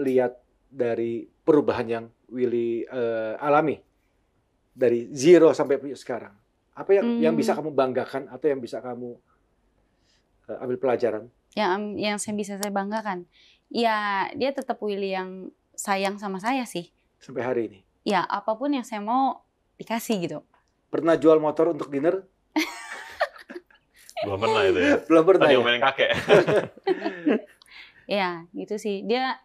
A: lihat dari perubahan yang Willy eh, alami dari zero sampai punya sekarang? Apa yang yang
B: Hmm.
A: bisa kamu banggakan atau yang bisa kamu eh, ambil pelajaran?
B: yang yang saya bisa saya banggakan ya dia tetap Willy yang sayang sama saya sih
A: sampai hari ini?
B: ya apapun yang saya mau dikasih gitu
A: Pernah jual motor untuk dinner?
C: Belum pernah itu ya.
A: Belum pernah.
C: Tadi
A: ya?
C: omelin kakek.
B: ya gitu sih dia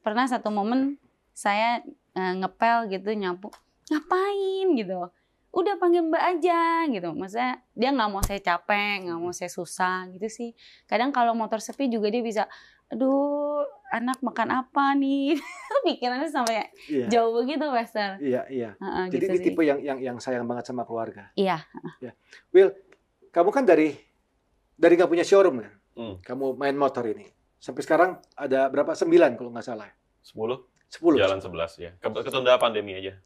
B: pernah satu momen saya eh, ngepel gitu nyapu ngapain gitu udah panggil mbak aja gitu maksudnya dia nggak mau saya capek nggak mau saya susah gitu sih kadang kalau motor sepi juga dia bisa aduh anak makan apa nih pikirannya sampai
A: Iya.
B: jauh begitu Pastor
A: Iya, iya.
B: Heeh,
A: Jadi
B: gitu
A: ini
B: sih.
A: tipe yang yang yang sayang banget sama keluarga.
B: Iya.
A: Ya. Will, kamu kan dari dari nggak punya showroom kan?
C: Hmm.
A: Kamu main motor ini. Sampai sekarang ada berapa? Sembilan kalau nggak salah.
C: 10,
A: Sepuluh.
C: jalan 11 ya. Ke- Ketunda pandemi aja.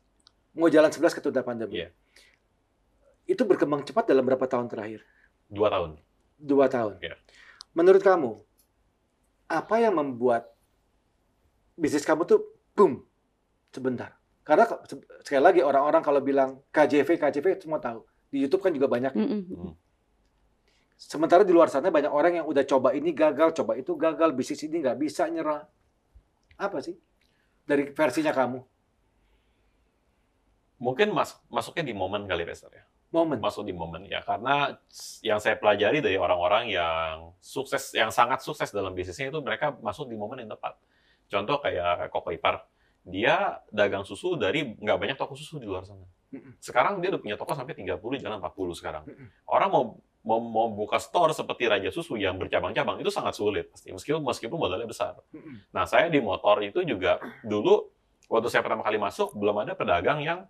A: Mau jalan sebelas ketunda pandemi.
C: Iya.
A: Itu berkembang cepat dalam berapa tahun terakhir?
C: 2 tahun.
A: Dua tahun.
C: Iya.
A: Menurut kamu, apa yang membuat bisnis kamu tuh boom sebentar? Karena ke- se- sekali lagi orang-orang kalau bilang KJV, KJV semua tahu. Di YouTube kan juga banyak
B: Mm-mm.
A: Sementara di luar sana banyak orang yang udah coba ini gagal, coba itu gagal, bisnis ini nggak bisa nyerah. Apa sih? Dari versinya kamu,
C: Mungkin mas masuknya di momen kali Pastor ya.
A: momen.
C: Masuk di momen ya. Karena s- yang saya pelajari dari orang-orang yang sukses, yang sangat sukses dalam bisnisnya itu mereka masuk di momen yang tepat. Contoh kayak Koko Ipar. Dia dagang susu dari nggak banyak toko susu di luar sana.
A: Mm-mm.
C: Sekarang dia udah punya toko sampai 30, jalan 40 sekarang.
A: Mm-mm.
C: Orang mau mau, mau buka store seperti Raja Susu yang bercabang-cabang itu sangat sulit pasti meskipun meskipun modalnya besar.
A: Mm-mm.
C: Nah, saya di motor itu juga dulu waktu saya pertama kali masuk belum ada pedagang yang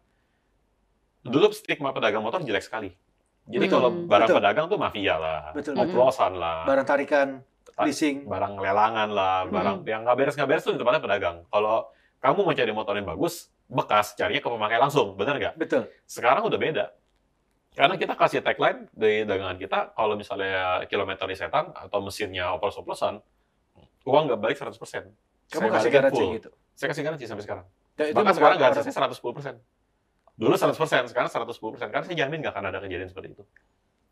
C: dulu stigma pedagang motor jelek sekali. Jadi
B: Betul.
C: kalau barang
A: Betul.
C: pedagang tuh mafia lah,
A: Betul.
C: oplosan lah,
A: Barang tarikan,
C: Ta-
A: leasing.
C: barang lelangan lah,
A: Hmm.
C: barang yang nggak beres nggak beres tuh di tempatnya pedagang. Kalau kamu mau cari motor yang bagus, bekas carinya ke pemakai langsung, bener nggak?
A: Betul.
C: sekarang udah beda. Karena kita kasih tagline dari dagangan kita, kalau misalnya kilometernya setan atau mesinnya oplos-oplosan, uang nggak balik 100%.
A: Kamu
C: Saya
A: kasih
C: balikin
A: garansi
C: full.
A: gitu.
C: Saya kasih garansi sampai sekarang.
A: Dan itu
C: Bahkan
A: membuat
C: sekarang
A: orang-
C: garansinya 110%. Dulu 100%, sekarang 110%. Karena Kan saya jamin nggak akan ada kejadian seperti itu.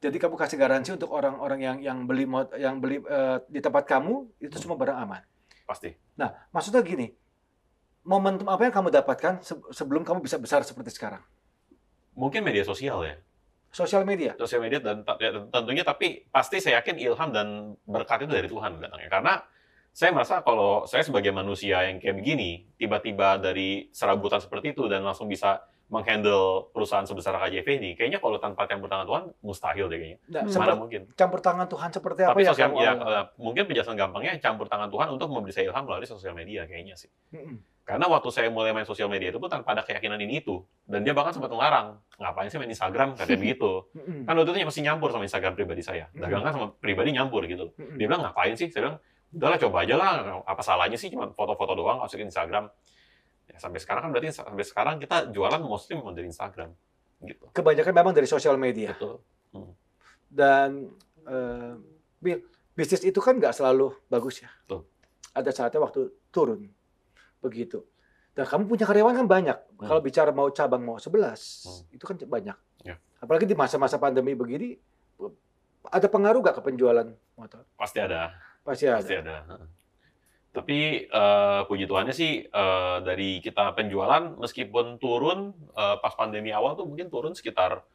A: Jadi kamu kasih garansi untuk orang-orang yang yang beli mot- yang beli eh, di tempat kamu itu semua barang aman.
C: Pasti.
A: Nah, maksudnya gini, momentum apa yang kamu dapatkan se- sebelum kamu bisa besar seperti sekarang?
C: Mungkin media sosial ya.
A: Sosial media.
C: Sosial media dan ta- ya, tentunya, tapi pasti saya yakin ilham dan berkat itu dari Tuhan datangnya. Karena saya merasa kalau saya sebagai manusia yang kayak begini, tiba-tiba dari serabutan seperti itu dan langsung bisa menghandle perusahaan sebesar KJV ini, kayaknya kalau tanpa campur tangan Tuhan mustahil deh kayaknya.
A: Nah,
B: Hmm.
C: Mana
A: seperti-
C: mungkin.
A: campur tangan Tuhan seperti apa
C: Tapi
A: yang
C: sosial
A: kamu
C: ya,
A: alami?
C: eh, mungkin penjelasan gampangnya campur tangan Tuhan untuk memberi saya ilham melalui sosial media kayaknya sih.
A: Mm-mm.
C: Karena waktu saya mulai main sosial media itu pun tanpa ada keyakinan ini itu. Dan dia bahkan sempat ngelarang. Ngapain sih main Instagram? Katanya begitu.
A: Mm-mm.
C: Kan waktu itu masih nyampur sama Instagram pribadi saya. Dagang kan sama pribadi nyampur gitu
A: Mm-mm.
C: dia bilang ngapain sih saya bilang udahlah coba aja lah apa salahnya sih cuma foto-foto doang masukin Instagram ya, sampai sekarang kan berarti sampai sekarang kita jualan mostly memang dari Instagram gitu
A: kebanyakan memang dari sosial media
C: betul Hmm.
A: dan eh, Bill, bisnis itu kan nggak selalu bagus ya.
C: Betul.
A: Ada saatnya waktu turun begitu. Dan kamu punya karyawan kan banyak. Kalau bicara mau cabang mau 11,
C: Hmm.
A: itu kan banyak.
C: Ya.
A: Apalagi di masa-masa pandemi begini ada pengaruh nggak ke penjualan motor?
C: pasti ada
A: Pasti
C: pasti
A: ada.
C: ada Heeh. tapi eh, puji Tuhannya sih eh, dari kita penjualan meskipun turun eh, pas pandemi awal tuh mungkin turun sekitar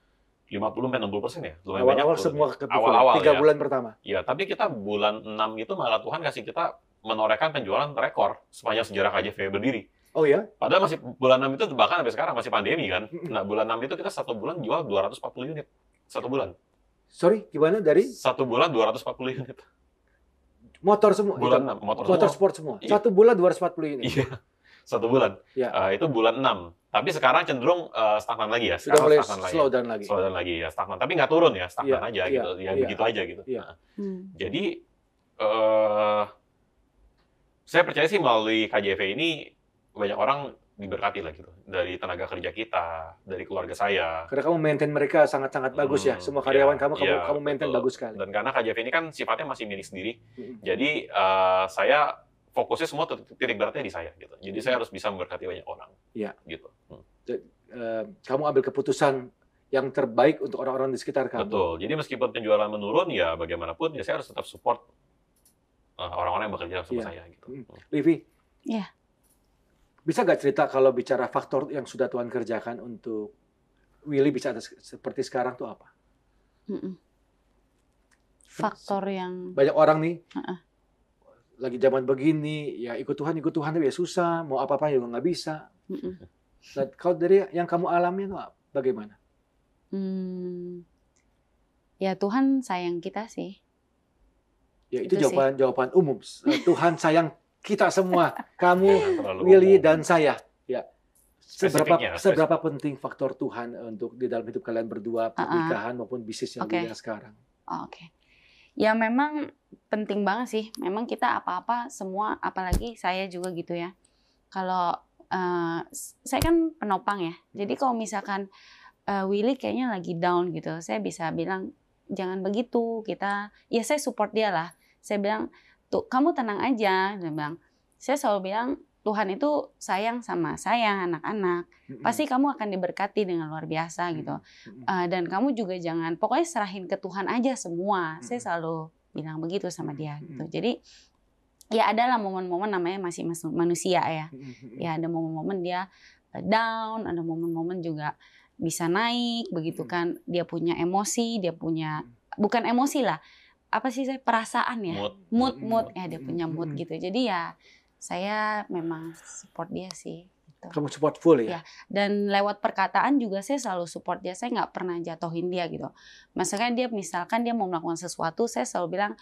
C: 50 sampai 60 persen ya lumayan banyak
A: Awal-awal
C: turunnya.
A: semua kepikul,
C: Awal-awal
A: tiga
C: ya.
A: bulan pertama.
C: Ya, tapi kita bulan 6 itu malah Tuhan kasih kita menorehkan penjualan rekor sepanjang sejarah KJV berdiri.
A: Oh ya,
C: Padahal masih bulan 6 itu bahkan sampai sekarang masih pandemi kan.
A: Mm-mm.
C: Nah, bulan 6 itu kita satu bulan jual 240 unit. Satu bulan.
A: sorry, gimana dari
C: Satu bulan 240 unit.
A: motor semua?
C: Bulan
A: Itu,
C: 6, motor,
A: motor
C: semua.
A: sport semua.
C: Iya.
A: Satu bulan 240 ini.
C: Iya. Satu bulan.
A: Iya.
C: Eh, itu bulan 6. Tapi sekarang cenderung eh, stagnan lagi ya.
A: Sudah
C: Sekarang
A: mulai
C: stagnan lagi.
A: slow down lagi.
C: Slow down lagi ya, stagnan. Tapi nggak turun ya, stagnan
A: Iya,
C: aja
A: iya,
C: gitu. Ya
A: iya.
C: begitu aja gitu.
A: Iya.
C: Nah,
B: Hmm.
C: jadi eh saya percaya sih melalui KJV ini banyak orang diberkati lah gitu. Dari tenaga kerja kita, dari keluarga saya,
A: Karena kamu maintain mereka sangat-sangat bagus ya.
C: Hmm,
A: Semua karyawan
C: iya,
A: kamu kamu
C: iya,
A: kamu maintain
C: betul.
A: bagus sekali. Hmm,
C: Dan karena KJV ini kan sifatnya masih milik sendiri,
A: Mm-mm.
C: jadi eh, saya fokusnya semua titik titik beratnya di saya gitu. Jadi saya harus bisa memberkati banyak orang.
A: Iya.
C: Gitu. Hmm.
A: eh, kamu ambil keputusan yang terbaik untuk orang-orang di sekitar kamu.
C: Betul. Jadi meskipun penjualan menurun ya bagaimanapun ya saya harus tetap support eh, orang-orang yang bekerja sama
A: Iya.
C: saya gitu.
A: Mm. Livi.
B: Iya.
A: Bisa nggak cerita kalau bicara faktor yang sudah Tuhan kerjakan untuk Willy bisa ada se- seperti sekarang tuh apa?
B: Mm-mm. faktor yang
A: Banyak orang nih
B: Heeh.
A: lagi zaman begini ya ikut Tuhan ikut Tuhan tapi ya susah mau apa apa juga nggak bisa.
B: Mm-mm.
A: Nah, kalau dari yang kamu alami itu apa? bagaimana?
B: Hmm. ya Tuhan sayang kita sih
A: Ya itu,
B: Itu sih.
A: jawaban jawaban umum. S- eh, Tuhan sayang kita semua, kamu,
C: Jangan terlalu
A: Willy
C: umum.
A: dan saya. Ya.
C: Spesifiknya,
A: Seberapa
C: spesifik.
A: seberapa penting faktor Tuhan eh, untuk di dalam hidup kalian berdua, pernikahan maupun bisnis yang
B: Ah, Oke.
A: dunia sekarang?
B: Oh, Oke. Ya memang penting banget sih. Memang kita apa-apa semua, apalagi saya juga gitu ya. Kalau eh, s- saya kan penopang ya. Jadi kalau misalkan eh, Willy kayaknya lagi down gitu, saya bisa bilang jangan begitu. Kita, ya saya support dia lah. Saya bilang tuh kamu tenang aja. Dia bilang, saya selalu bilang Tuhan itu sayang sama saya anak-anak.
A: Mm-mm.
B: Pasti kamu akan diberkati dengan luar biasa gitu.
A: Mm-mm.
B: Uh, dan kamu juga jangan pokoknya serahin ke Tuhan aja semua. Saya
A: Mm-mm.
B: selalu bilang begitu sama
A: Mm-mm.
B: dia gitu. Jadi ya adalah momen-momen namanya masih mas- manusia ya.
A: Mm-mm.
B: Ya ada momen-momen dia uh, down, ada momen-momen juga bisa naik begitu
A: Mm-mm.
B: kan. Dia punya emosi, dia punya bukan emosi lah. Apa sih saya perasaan ya?
C: Mood.
B: Mood,
A: Mm-mm.
B: mood ya dia punya mood
A: Mm-mm.
B: gitu. Jadi ya saya memang support dia sih.
A: Kamu support full ya?
B: Ya. dan lewat perkataan juga saya selalu support dia saya nggak pernah jatuhin dia gitu maksudnya dia misalkan dia mau melakukan sesuatu saya selalu bilang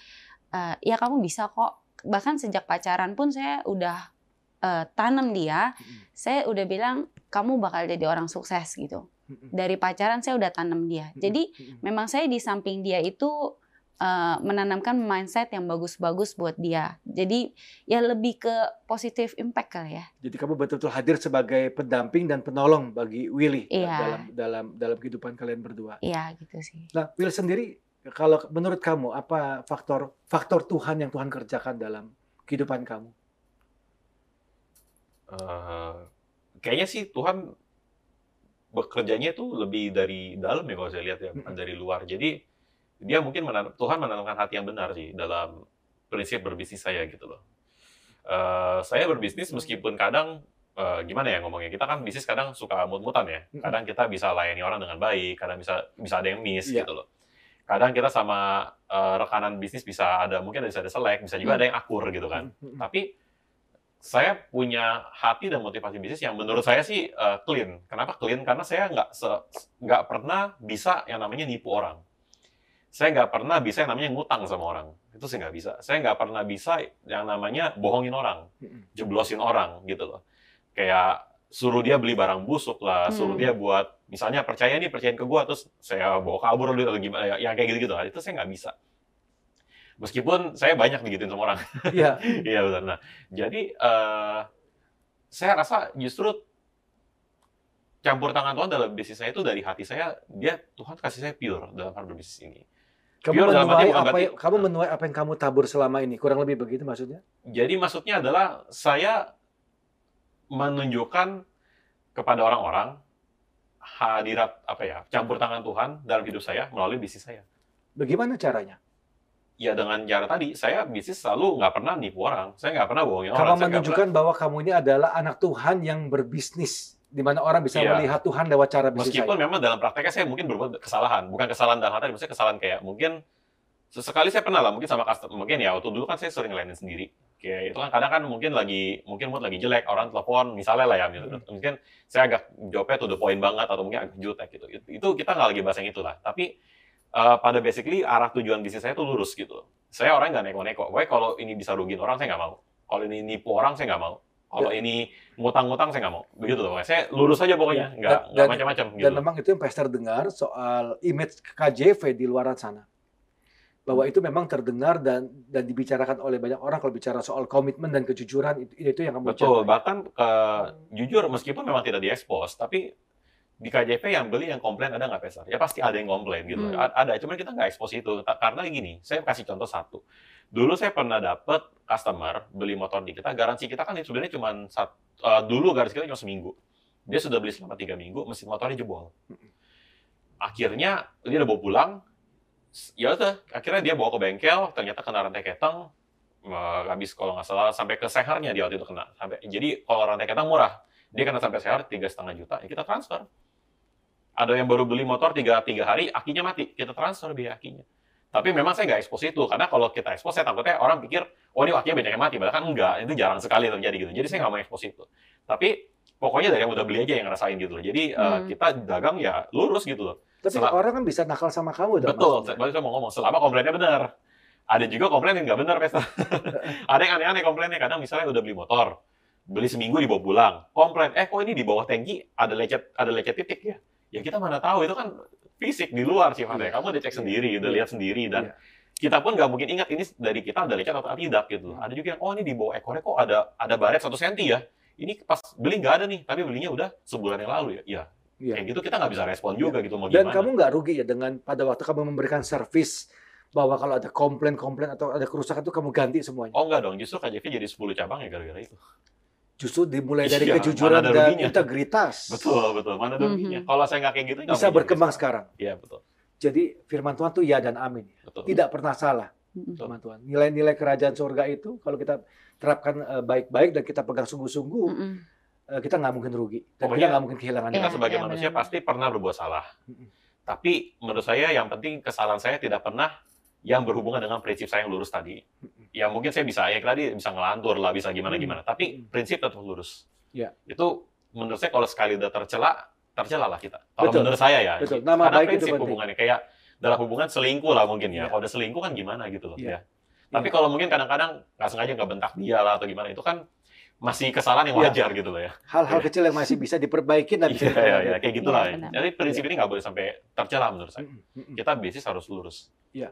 B: "Eh, ya kamu bisa kok bahkan sejak pacaran pun saya udah eh, tanam dia
A: Mm-mm.
B: saya udah bilang kamu bakal jadi orang sukses gitu
A: Mm-mm.
B: dari pacaran saya udah tanam dia
A: Hmm.
B: jadi
A: Mm-mm.
B: memang saya di samping dia itu eh, menanamkan mindset yang bagus-bagus buat dia jadi ya lebih ke positive impact kali ya
A: Jadi kamu betul-betul hadir sebagai pendamping dan penolong bagi Willy
B: Iya.
A: dalam dalam dalam kehidupan kalian berdua.
B: iya gitu sih
A: Nah, Will sendiri, kalau menurut kamu apa faktor faktor Tuhan yang Tuhan kerjakan dalam kehidupan kamu?
C: Eh, kayaknya sih Tuhan bekerjanya itu lebih dari dalam ya kalau saya lihat ya, bukan dari luar. Jadi dia mungkin menanam, Tuhan menanamkan hati yang benar sih dalam prinsip berbisnis saya gitu loh. Eh, saya berbisnis meskipun kadang eh, gimana ya ngomongnya kita kan bisnis kadang suka mut-mutan ya. Kadang kita bisa layani orang dengan baik, kadang bisa bisa ada yang miss
A: Iya.
C: gitu loh. Kadang kita sama eh, rekanan bisnis bisa ada mungkin bisa ada selek, bisa
B: Hmm.
C: juga ada yang akur gitu kan tapi saya punya hati dan motivasi bisnis yang menurut saya sih eh, clean. Kenapa clean? Karena saya nggak se- nggak pernah bisa yang namanya nipu orang. Saya nggak pernah bisa yang namanya ngutang sama orang. Itu saya nggak bisa. Saya nggak pernah bisa yang namanya bohongin orang, jeblosin orang gitu loh. Kayak suruh dia beli barang busuk lah, suruh
B: Hmm.
C: dia buat misalnya percaya nih percayain ke gua terus saya bawa kabur dulu atau gimana ya, yang kayak gitu-gitu lah. Itu saya nggak bisa. Meskipun saya banyak digituin sama orang.
A: Iya.
C: Iya benar. Nah, jadi eh saya rasa justru campur tangan Tuhan dalam bisnis saya itu dari hati saya dia Tuhan kasih saya pure dalam hal berbisnis ini.
A: Kamu
C: Pure dalam arti
A: menuai
C: bukan
A: apa
C: berarti-
A: yang- kamu menuai apa yang kamu tabur selama ini, kurang lebih begitu maksudnya?
C: Jadi maksudnya adalah saya menunjukkan kepada orang-orang hadirat apa ya campur tangan Tuhan dalam hidup saya melalui bisnis saya.
A: Bagaimana caranya?
C: Ya dengan cara tadi saya bisnis selalu nggak pernah nipu orang, saya nggak pernah bohongin
A: Kamu
C: orang. saya nggak pernah-
A: menunjukkan bahwa kamu ini adalah anak Tuhan yang berbisnis, di mana orang bisa
C: Iya.
A: melihat Tuhan lewat cara bisnis
C: Meskipun
A: saya.
C: memang dalam prakteknya saya mungkin berbuat kesalahan, bukan kesalahan dalam hal tadi, maksudnya kesalahan kayak mungkin sesekali saya pernah lah mungkin sama customer, mungkin ya waktu dulu kan saya sering ngelainin sendiri. Kayak itu kan kadang kan mungkin lagi mungkin mood lagi jelek, orang telepon misalnya lah ya,
A: Hmm.
C: mungkin saya agak jawabnya to the point banget atau mungkin agak jutek gitu. Itu, itu kita nggak lagi bahas yang itu lah. Tapi eh, pada basically arah tujuan bisnis saya tuh lurus gitu. Saya orang nggak neko-neko. Pokoknya kalau ini bisa rugiin orang saya nggak mau. Kalau ini nipu orang saya nggak mau. Kalau
A: Ya.
C: ini ngutang-ngutang saya nggak mau. Begitu loh. Pokoknya saya lurus aja
A: Ya.
C: pokoknya. Nggak
A: Dan-
C: nggak
A: dan-
C: macam-macam gitu.
A: Dan memang itu yang Pastor dengar soal image KJV di luar sana. Bahwa
C: Hmm.
A: itu memang terdengar dan dan dibicarakan oleh banyak orang kalau bicara soal komitmen dan kejujuran itu, itu yang kamu ucapkan.
C: Betul, bahkan eh, jujur meskipun memang tidak diekspos, tapi di KJP yang beli yang komplain ada nggak Pesar? Ya pasti ada yang komplain gitu.
B: Hmm.
C: A- Ada, cuman kita nggak ekspos itu. Ta- Karena gini, saya kasih contoh satu. Dulu saya pernah dapet customer beli motor di kita, garansi kita kan sebenarnya cuma sat- eh, dulu garansi kita cuma seminggu. Dia sudah beli selama tiga minggu, mesin motornya jebol. Akhirnya dia udah bawa pulang, s- ya udah, akhirnya dia bawa ke bengkel, ternyata kena rantai ketang, eh, habis kalau nggak salah sampai ke seharnya dia waktu itu kena. Sampai, jadi kalau rantai ketang murah, dia kena sampai sehar tiga setengah juta, ya kita transfer. Ada yang baru beli motor tiga, tiga hari, akinya mati, kita transfer biaya akinya. Tapi memang saya nggak ekspos itu, karena kalau kita ekspos, saya takutnya orang pikir, oh ini waktunya banyak yang mati. Padahal kan enggak, itu jarang sekali terjadi gitu. Jadi saya nggak mau expose itu. Tapi pokoknya dari yang udah beli aja yang ngerasain gitu loh. Jadi eh,
B: Hmm.
C: kita dagang ya lurus gitu loh.
A: Tapi
C: Selama-
A: orang kan bisa nakal sama kamu dong.
C: Betul,
A: maksudnya.
C: baru saya mau ngomong, selama komplainnya benar. Ada juga komplain yang nggak benar, Pesta. Ada yang aneh-aneh komplainnya, kadang misalnya udah beli motor, beli seminggu dibawa pulang, komplain, eh kok ini di bawah tangki ada lecet ada lecet titik ya? Ya kita mana tahu, itu kan fisik di luar sifatnya.
A: Iya.
C: Kamu udah cek
A: Iya.
C: sendiri, udah
A: Iya.
C: lihat sendiri, dan
A: Iya.
C: kita pun nggak mungkin ingat ini dari kita ada lecet atau tidak
A: Iya.
C: gitu. Ada juga yang, oh ini di bawah ekornya kok ada ada baret satu senti ya? Ini pas beli nggak ada nih, tapi belinya udah sebulan yang lalu ya. Ya,
A: Iya.
C: kayak gitu kita nggak bisa respon juga gitu mau
A: Dan
C: gimana.
A: kamu nggak rugi ya dengan pada waktu kamu memberikan servis bahwa kalau ada komplain-komplain atau ada kerusakan itu kamu ganti semuanya.
C: Oh enggak dong, justru KJV jadi 10 cabang ya gara-gara itu.
A: Justru dimulai dari
C: Iya,
A: kejujuran
C: mana ada
A: dan
C: ruginya.
A: integritas.
C: Betul, betul. Mana ada
B: Mhm.
C: ruginya. Kalau saya nggak kayak gitu, nggak
A: Bisa
C: mungkin
A: berkembang
C: bisa.
A: sekarang.
C: Iya, betul.
A: Jadi firman Tuhan tuh ya dan amin.
C: betul.
A: Tidak pernah salah firman Tuhan. Nilai-nilai kerajaan surga itu kalau kita terapkan eh, baik-baik dan kita pegang sungguh-sungguh,
B: Mm-mm.
A: eh, kita nggak mungkin rugi. Dan
C: Pokoknya-
A: kita nggak mungkin kehilangan
C: Kita
B: Hmm. Iya,
C: sebagai
B: iya,
C: manusia
B: benar.
C: pasti pernah berbuat salah.
A: Mhm.
C: Tapi menurut saya yang penting kesalahan saya tidak pernah yang berhubungan dengan prinsip saya yang lurus tadi.
A: Mhm.
C: Ya mungkin saya bisa, ya tadi bisa ngelantur lah, bisa gimana-gimana. Tapi
A: Mhm.
C: prinsip tetap lurus.
A: Iya.
C: Itu menurut saya kalau sekali udah tercela, tercela lah kita. Kalau
A: Betul.
C: menurut saya ya.
A: Betul. Nama
C: Karena
A: baik itu
C: prinsip
A: penting.
C: hubungannya. Kayak dalam hubungan selingkuh lah mungkin ya.
A: Iya.
C: Kalau udah selingkuh kan gimana gitu loh.
A: Iya.
C: Ya. Tapi
A: Iya.
C: kalau mungkin kadang-kadang nggak sengaja nggak bentak dia lah atau gimana itu kan masih kesalahan yang
A: Iya.
C: wajar gitu loh ya.
A: Hal-hal kecil yang masih bisa diperbaiki dan bisa
C: Iya, iya, iya.
A: diperbaiki.
C: Kayak gitulah.
B: Iya,
C: ya.
B: benar.
C: Jadi prinsip ini nggak boleh sampai tercela menurut saya.
A: Mm, mm, mm.
C: Kita bisnis harus lurus.
A: Eh,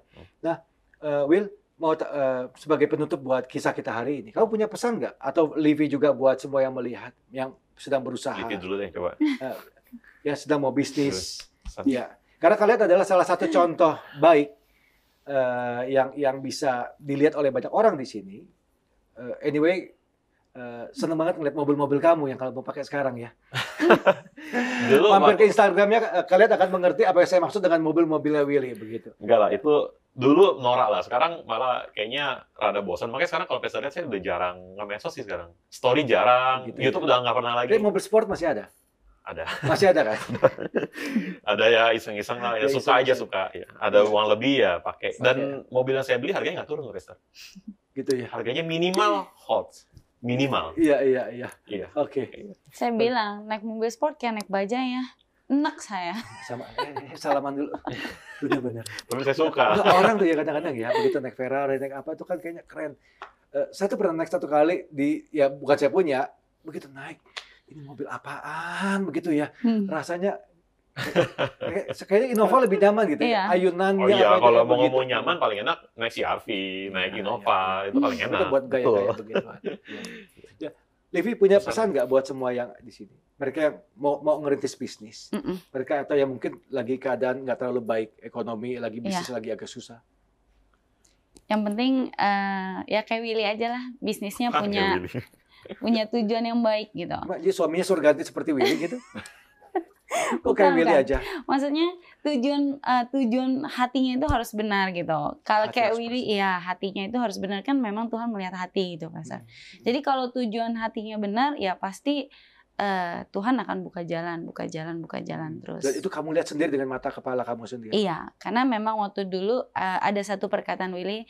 A: Will mau ta- eh, sebagai penutup buat kisah kita hari ini, kamu punya pesan nggak? Atau Livi juga buat semua yang melihat, yang sedang berusaha,
C: Gitu dulu deh coba.
A: yang sedang mau bisnis.
C: Pesan.
A: Ya, karena kalian adalah salah satu contoh baik eh, yang yang bisa dilihat oleh banyak orang di sini. Eh, anyway, eh, seneng banget ngeliat mobil-mobil kamu yang kamu pakai sekarang ya.
C: Dulu
A: Mampir ke
C: waktu-
A: Instagramnya, eh, kalian akan mengerti apa yang saya maksud dengan mobil-mobilnya Willy begitu.
C: enggak lah itu dulu norak lah. Sekarang malah kayaknya rada bosan. Makanya sekarang kalau pesta lihat saya udah jarang nge-medsos sih sekarang. Story jarang,
A: Gitu ya.
C: YouTube udah nggak pernah lagi.
A: Tapi mobil sport masih ada?
C: Ada.
A: Masih ada kan?
C: ada ya iseng-iseng lah, ya,
A: Ya,
C: suka aja
A: iseng-iseng.
C: suka. Ya. Ada
A: Iya.
C: uang lebih ya pakai.
A: Pakai,
C: Dan mobil yang saya beli harganya nggak turun loh, Rester.
A: Gitu ya.
C: Harganya minimal hot, minimal.
A: Iya iya iya.
C: Iya.
A: Oke.
B: Saya bilang naik mobil sport kayak naik baja ya. Enak saya.
A: Sama eh, salaman dulu. Benar-benar.
C: Tapi saya suka.
A: Orang tuh ya kadang-kadang ya begitu naik Ferrari naik apa itu kan kayaknya keren. Eh, saya tuh pernah naik satu kali di ya bukan saya punya begitu naik ini mobil apaan begitu ya
B: Hmm.
A: rasanya kayak- kayaknya Innova lebih nyaman gitu ya
B: Iya.
A: ayunan
C: Oh iya, kalau mau ngomong nyaman paling enak naik CRV, naik
A: Nah,
C: Innova, Iya, itu paling enak.
A: itu buat gaya-gaya begitu Iya, ya. Livi punya pesan
C: Pesan.
A: nggak buat semua yang di sini mereka yang mau mau ngerintis bisnis
B: Mm-mm.
A: mereka atau yang mungkin lagi keadaan nggak terlalu baik ekonomi lagi bisnis lagi agak susah
B: Yang penting eh, ya kayak Willy aja lah bisnisnya
C: Ah,
A: iya,
B: punya
C: ya, Willy.
B: punya tujuan yang baik gitu.
A: Mak, jadi suaminya suruh ganti seperti Willy gitu kok kayak
B: Bukan,
A: Willy
B: bukan.
A: aja
B: Maksudnya tujuan eh, tujuan hatinya itu harus benar gitu. Kalau
A: Hati
B: kayak
A: harus
B: Willy ya hatinya itu harus benar kan memang Tuhan melihat hati gitu
A: Hmm.
B: pasar. Jadi kalau tujuan hatinya benar ya pasti eh, Tuhan akan buka jalan, buka jalan, buka jalan terus.
A: dan itu kamu lihat sendiri dengan mata kepala kamu sendiri
C: gitu.
B: Iya, karena memang waktu dulu eh, ada satu perkataan Willy eh,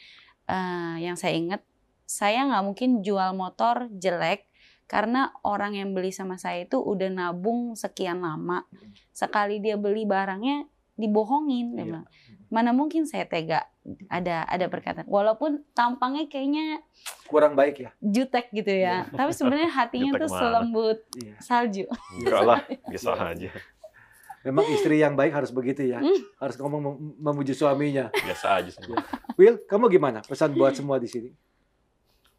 B: yang saya ingat, saya nggak mungkin jual motor jelek karena orang yang beli sama saya itu udah nabung sekian lama. Sekali dia beli barangnya dibohongin, dia
A: Iya.
B: bilang. mana mungkin saya tega ada ada perkataan. Walaupun tampangnya kayaknya
A: kurang baik ya
B: jutek gitu ya, tapi sebenarnya hatinya
C: Iya. Jutek
B: tuh
C: mana?
B: selembut
A: Iya.
B: salju.
C: Enggak lah, biasa aja.
A: memang istri yang baik harus begitu ya
B: Hmm.
A: harus ngomong mem- memuji suaminya
C: Biasa aja sih.
A: Will kamu gimana pesan buat semua di sini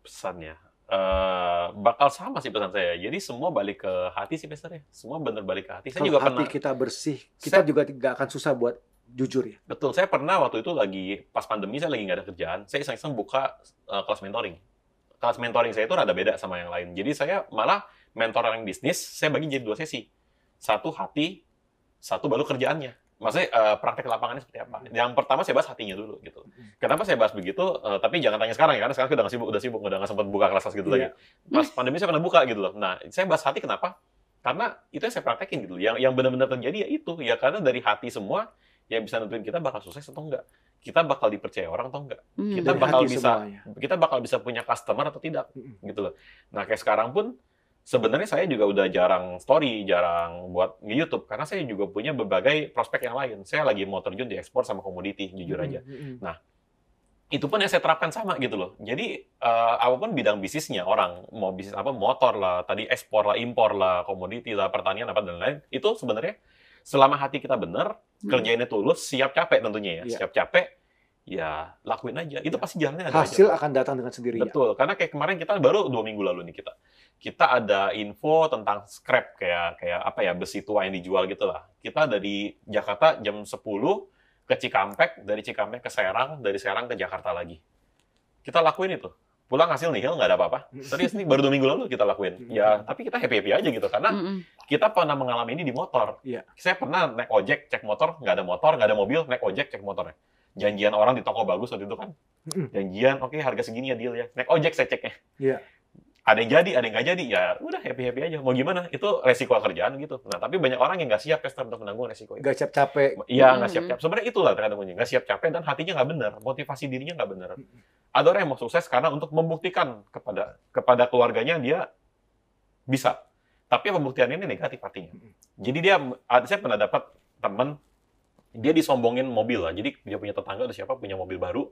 C: Pesannya. Eh, bakal sama sih pesan saya. Jadi semua balik ke hati sih pesannya. Semua bener balik ke hati. Saya
A: Kalau
C: juga
A: hati
C: pernah
A: kita bersih kita juga nggak akan susah buat jujur ya
C: Betul, saya pernah waktu itu lagi pas pandemi saya lagi nggak ada kerjaan, saya iseng-iseng buka eh, kelas mentoring. Kelas mentoring saya itu rada beda sama yang lain. Jadi saya malah mentor yang bisnis, saya bagi jadi dua sesi. Satu hati, satu baru kerjaannya. Maksudnya eh, praktek lapangannya seperti apa? Yang pertama saya bahas hatinya dulu gitu. Kenapa saya bahas begitu? Eh, tapi jangan tanya sekarang ya, karena sekarang kita udah nggak sibuk, udah sibuk, udah nggak sempat buka kelas-kelas gitu
A: Iya.
C: lagi. Pas pandemi saya pernah buka gitu loh. Nah, saya bahas hati kenapa? Karena itu yang saya praktekin gitu. loh. Yang yang benar-benar terjadi ya itu. Ya karena dari hati semua yang bisa nentuin kita bakal sukses atau enggak. Kita bakal dipercaya orang atau enggak.
B: Hmm.
C: Kita
A: Dari
C: bakal
A: hati
C: bisa-
A: semuanya.
C: Kita bakal bisa punya customer atau tidak
A: Mm-mm.
C: gitu loh. Nah, kayak sekarang pun sebenarnya saya juga udah jarang story, jarang buat di YouTube karena saya juga punya berbagai prospek yang lain. Saya lagi mau terjun di ekspor sama komoditi, jujur aja
A: Mm-mm.
C: itu pun yang saya terapkan sama gitu loh. Jadi eh, apapun bidang bisnisnya orang mau bisnis apa motor lah, tadi ekspor lah, impor lah, komoditi lah, pertanian apa dan lain, itu sebenarnya selama hati kita benar,
B: Hmm.
C: kerjainnya tulus, siap capek tentunya ya,
A: Iya.
C: siap capek, ya lakuin aja. Itu
A: Iya.
C: pasti jalannya ada
A: Hasil
C: aja.
A: akan datang dengan sendirinya.
C: Betul, karena kayak kemarin kita baru dua minggu lalu nih kita. Kita ada info tentang scrap kayak kayak apa ya besi tua yang dijual gitu lah. Kita dari Jakarta jam 10 ke Cikampek, dari Cikampek ke Serang, dari Serang ke Jakarta lagi. Kita lakuin itu. Pulang hasil nihil nggak ada apa-apa. Serius nih baru dua minggu lalu kita lakuin. Ya tapi kita happy happy aja gitu karena
B: Mm-mm.
C: kita pernah mengalami ini di motor.
A: Iya.
C: Saya pernah naik ojek, cek motor, nggak ada motor, nggak ada mobil, naik ojek, cek motornya. Janjian orang di toko bagus waktu itu kan.
A: Mm-mm.
C: Janjian, oke harga segini ya deal ya. Naik ojek saya ceknya.
A: Iya.
C: Ada yang jadi, ada yang nggak jadi, ya udah happy-happy aja. Mau gimana, itu resiko kerjaan gitu. Nah, tapi banyak orang yang nggak siap, Pester, untuk menanggung resiko itu.
A: Gak cap capek.
C: Iya, nggak
B: Mm.
C: siap-siap. Sebenarnya itulah terkadang nggak siap capek dan hatinya nggak benar, motivasi dirinya nggak benar.
A: Hmm,
C: Ada orang yang mau sukses karena untuk membuktikan kepada kepada keluarganya dia bisa. Tapi pembuktian ini negatif artinya.
A: Hmm,
C: Jadi dia, saya pernah dapat teman dia disombongin mobil lah. Jadi dia punya tetangga atau siapa punya mobil baru.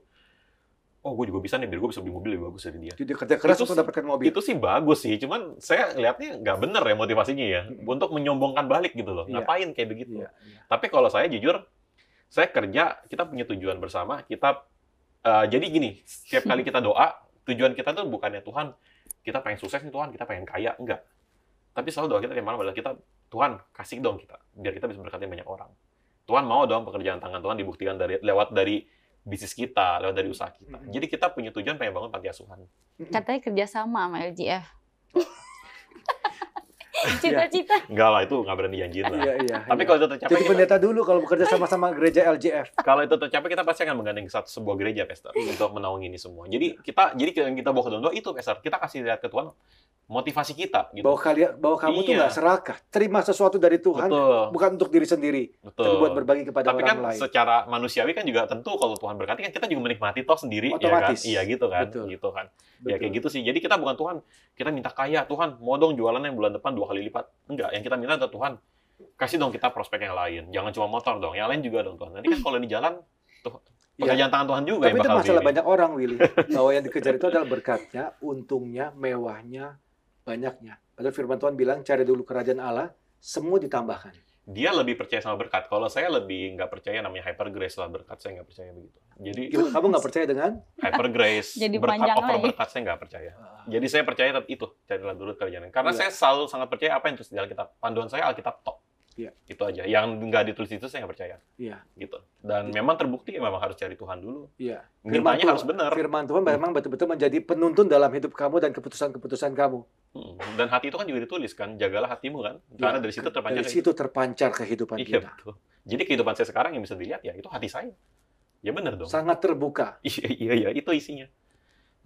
C: Oh, gue juga bisa nih, biar gue bisa beli mobil lebih bagus dari dia.
A: Jadi kerja keras
C: Itu
A: untuk
C: sih-
A: dapatkan mobil.
C: Itu sih bagus sih, cuman saya lihatnya nggak bener ya motivasinya ya. Untuk menyombongkan balik gitu loh.
A: Hmm, Iya.
C: Ngapain kayak begitu?
A: Iya, iya.
C: Tapi kalau saya jujur, saya kerja, kita punya tujuan bersama, kita eh, jadi gini, setiap kali kita doa, tujuan kita tuh bukannya Tuhan, kita pengen sukses nih Tuhan, kita pengen kaya, enggak. Tapi selalu doa kita yang malam adalah kita, Tuhan kasih dong kita, biar kita bisa memberkati banyak orang. Tuhan mau dong pekerjaan tangan Tuhan dibuktikan dari lewat dari bisnis kita, lewat dari usaha kita.
A: Mm-mm.
C: Jadi kita punya tujuan pengen bangun panti asuhan.
B: Katanya kerjasama sama LGF. Cita-cita.
C: Enggak lah, itu nggak berani janjiin lah.
A: Iya, iya. iya.
C: Tapi kalau itu tercapai,
A: jadi
C: kita-
A: pendeta dulu kalau bekerja sama-sama gereja LJF.
C: kalau itu tercapai kita pasti akan menggandeng satu sebuah gereja Pastor
A: Iya.
C: untuk menaungi ini semua. Jadi kita jadi yang kita bawa ke dalam doa itu Pastor, kita kasih lihat ke Tuhan motivasi kita gitu.
A: Bahwa kalian bahwa kamu tuh
C: Iya.
A: nggak serakah, terima sesuatu dari Tuhan
C: betul,
A: bukan untuk diri sendiri,
C: betul.
A: tapi buat berbagi kepada
C: Tapi
A: orang
C: kan
A: lain.
C: secara manusiawi kan juga tentu kalau Tuhan berkati kan kita juga menikmati toh sendiri
A: Otomatis.
C: ya kan? Iya gitu kan.
A: Betul.
C: Gitu kan. Ya
A: Betul.
C: kayak gitu sih. Jadi kita bukan Tuhan, kita minta kaya, Tuhan mau dong jualannya bulan depan dua kali lipat. Enggak, yang kita minta adalah Tuhan kasih dong kita prospek yang lain. Jangan cuma motor dong, yang lain juga dong Tuhan. Nanti kan kalau di jalan tuh
A: Iya.
C: pekerjaan tangan Tuhan juga
A: Tapi
C: yang
A: itu
C: bakal
A: masalah
C: diri.
A: banyak orang, Willy. Bahwa yang dikejar itu adalah berkatnya, untungnya, mewahnya, banyaknya. Padahal firman Tuhan bilang, cari dulu kerajaan Allah, semua ditambahkan.
C: dia lebih percaya sama berkat. Kalau saya lebih nggak percaya namanya hyper grace lah berkat. Saya nggak percaya begitu. Jadi
A: Gimana, kamu nggak percaya dengan?
C: hyper grace,
B: Jadi
C: berkat
B: panjang
C: over
B: lagi.
C: berkat saya nggak percaya. Jadi saya percaya tetap itu carilah dulu kerjaan. Karena
A: Iya.
C: saya selalu sangat percaya apa yang tertulis di Alkitab. Panduan saya Alkitab top.
A: Iya.
C: Itu aja. Yang nggak ditulis itu saya nggak percaya.
A: Iya.
C: Gitu. Dan memang terbukti ya, memang harus cari Tuhan dulu.
A: Iya.
C: Mintanya
A: Tuhan-
C: harus benar. Hmm.
A: Firman Tuhan memang betul-betul menjadi penuntun dalam hidup kamu dan keputusan-keputusan kamu.
C: Mm. Dan hati itu kan juga ditulis kan. Jagalah hatimu kan. Karena
A: Iya.
C: dari situ terpancar. gitu.
A: Dari situ terpancar kehidupan
C: Iya
A: kita.
C: betul. Jadi kehidupan saya sekarang yang bisa dilihat ya itu hati saya. Ya benar dong.
A: Sangat terbuka.
C: Iya, iya, iya, itu isinya.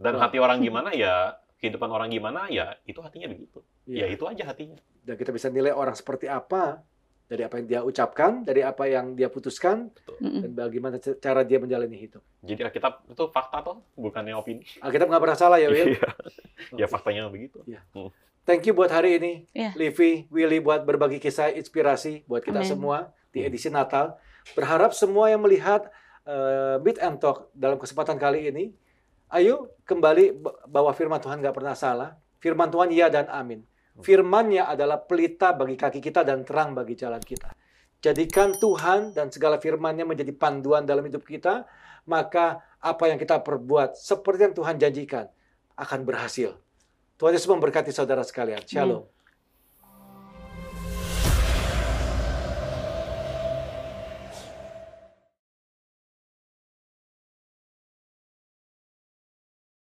C: Dan
A: Wah.
C: hati orang gimana ya, kehidupan orang gimana ya, itu hatinya begitu.
A: Iya.
C: Ya itu aja hatinya.
A: Dan kita bisa nilai orang seperti apa dari apa yang dia ucapkan, dari apa yang dia putuskan,
B: Mm-mm.
A: dan bagaimana c- cara dia menjalani hidup.
C: Jadi Alkitab itu fakta toh, bukannya opini.
A: Alkitab nggak pernah salah ya, Will?
C: Iya, ya faktanya begitu.
A: Thank you buat hari ini,
B: Iya.
A: Livi, Willy buat berbagi kisah inspirasi buat kita
B: Amin.
A: semua di
C: Hmm.
A: edisi Natal. Berharap semua yang melihat eh, Beat and Talk dalam kesempatan kali ini, ayo kembali b- bahwa firman Tuhan nggak pernah salah. Firman Tuhan ya dan amin. Firmannya adalah pelita bagi kaki kita dan terang bagi jalan kita. Jadikan Tuhan dan segala firmannya menjadi panduan dalam hidup kita, maka apa yang kita perbuat seperti yang Tuhan janjikan akan berhasil. Tuhan Yesus memberkati saudara sekalian. Shalom.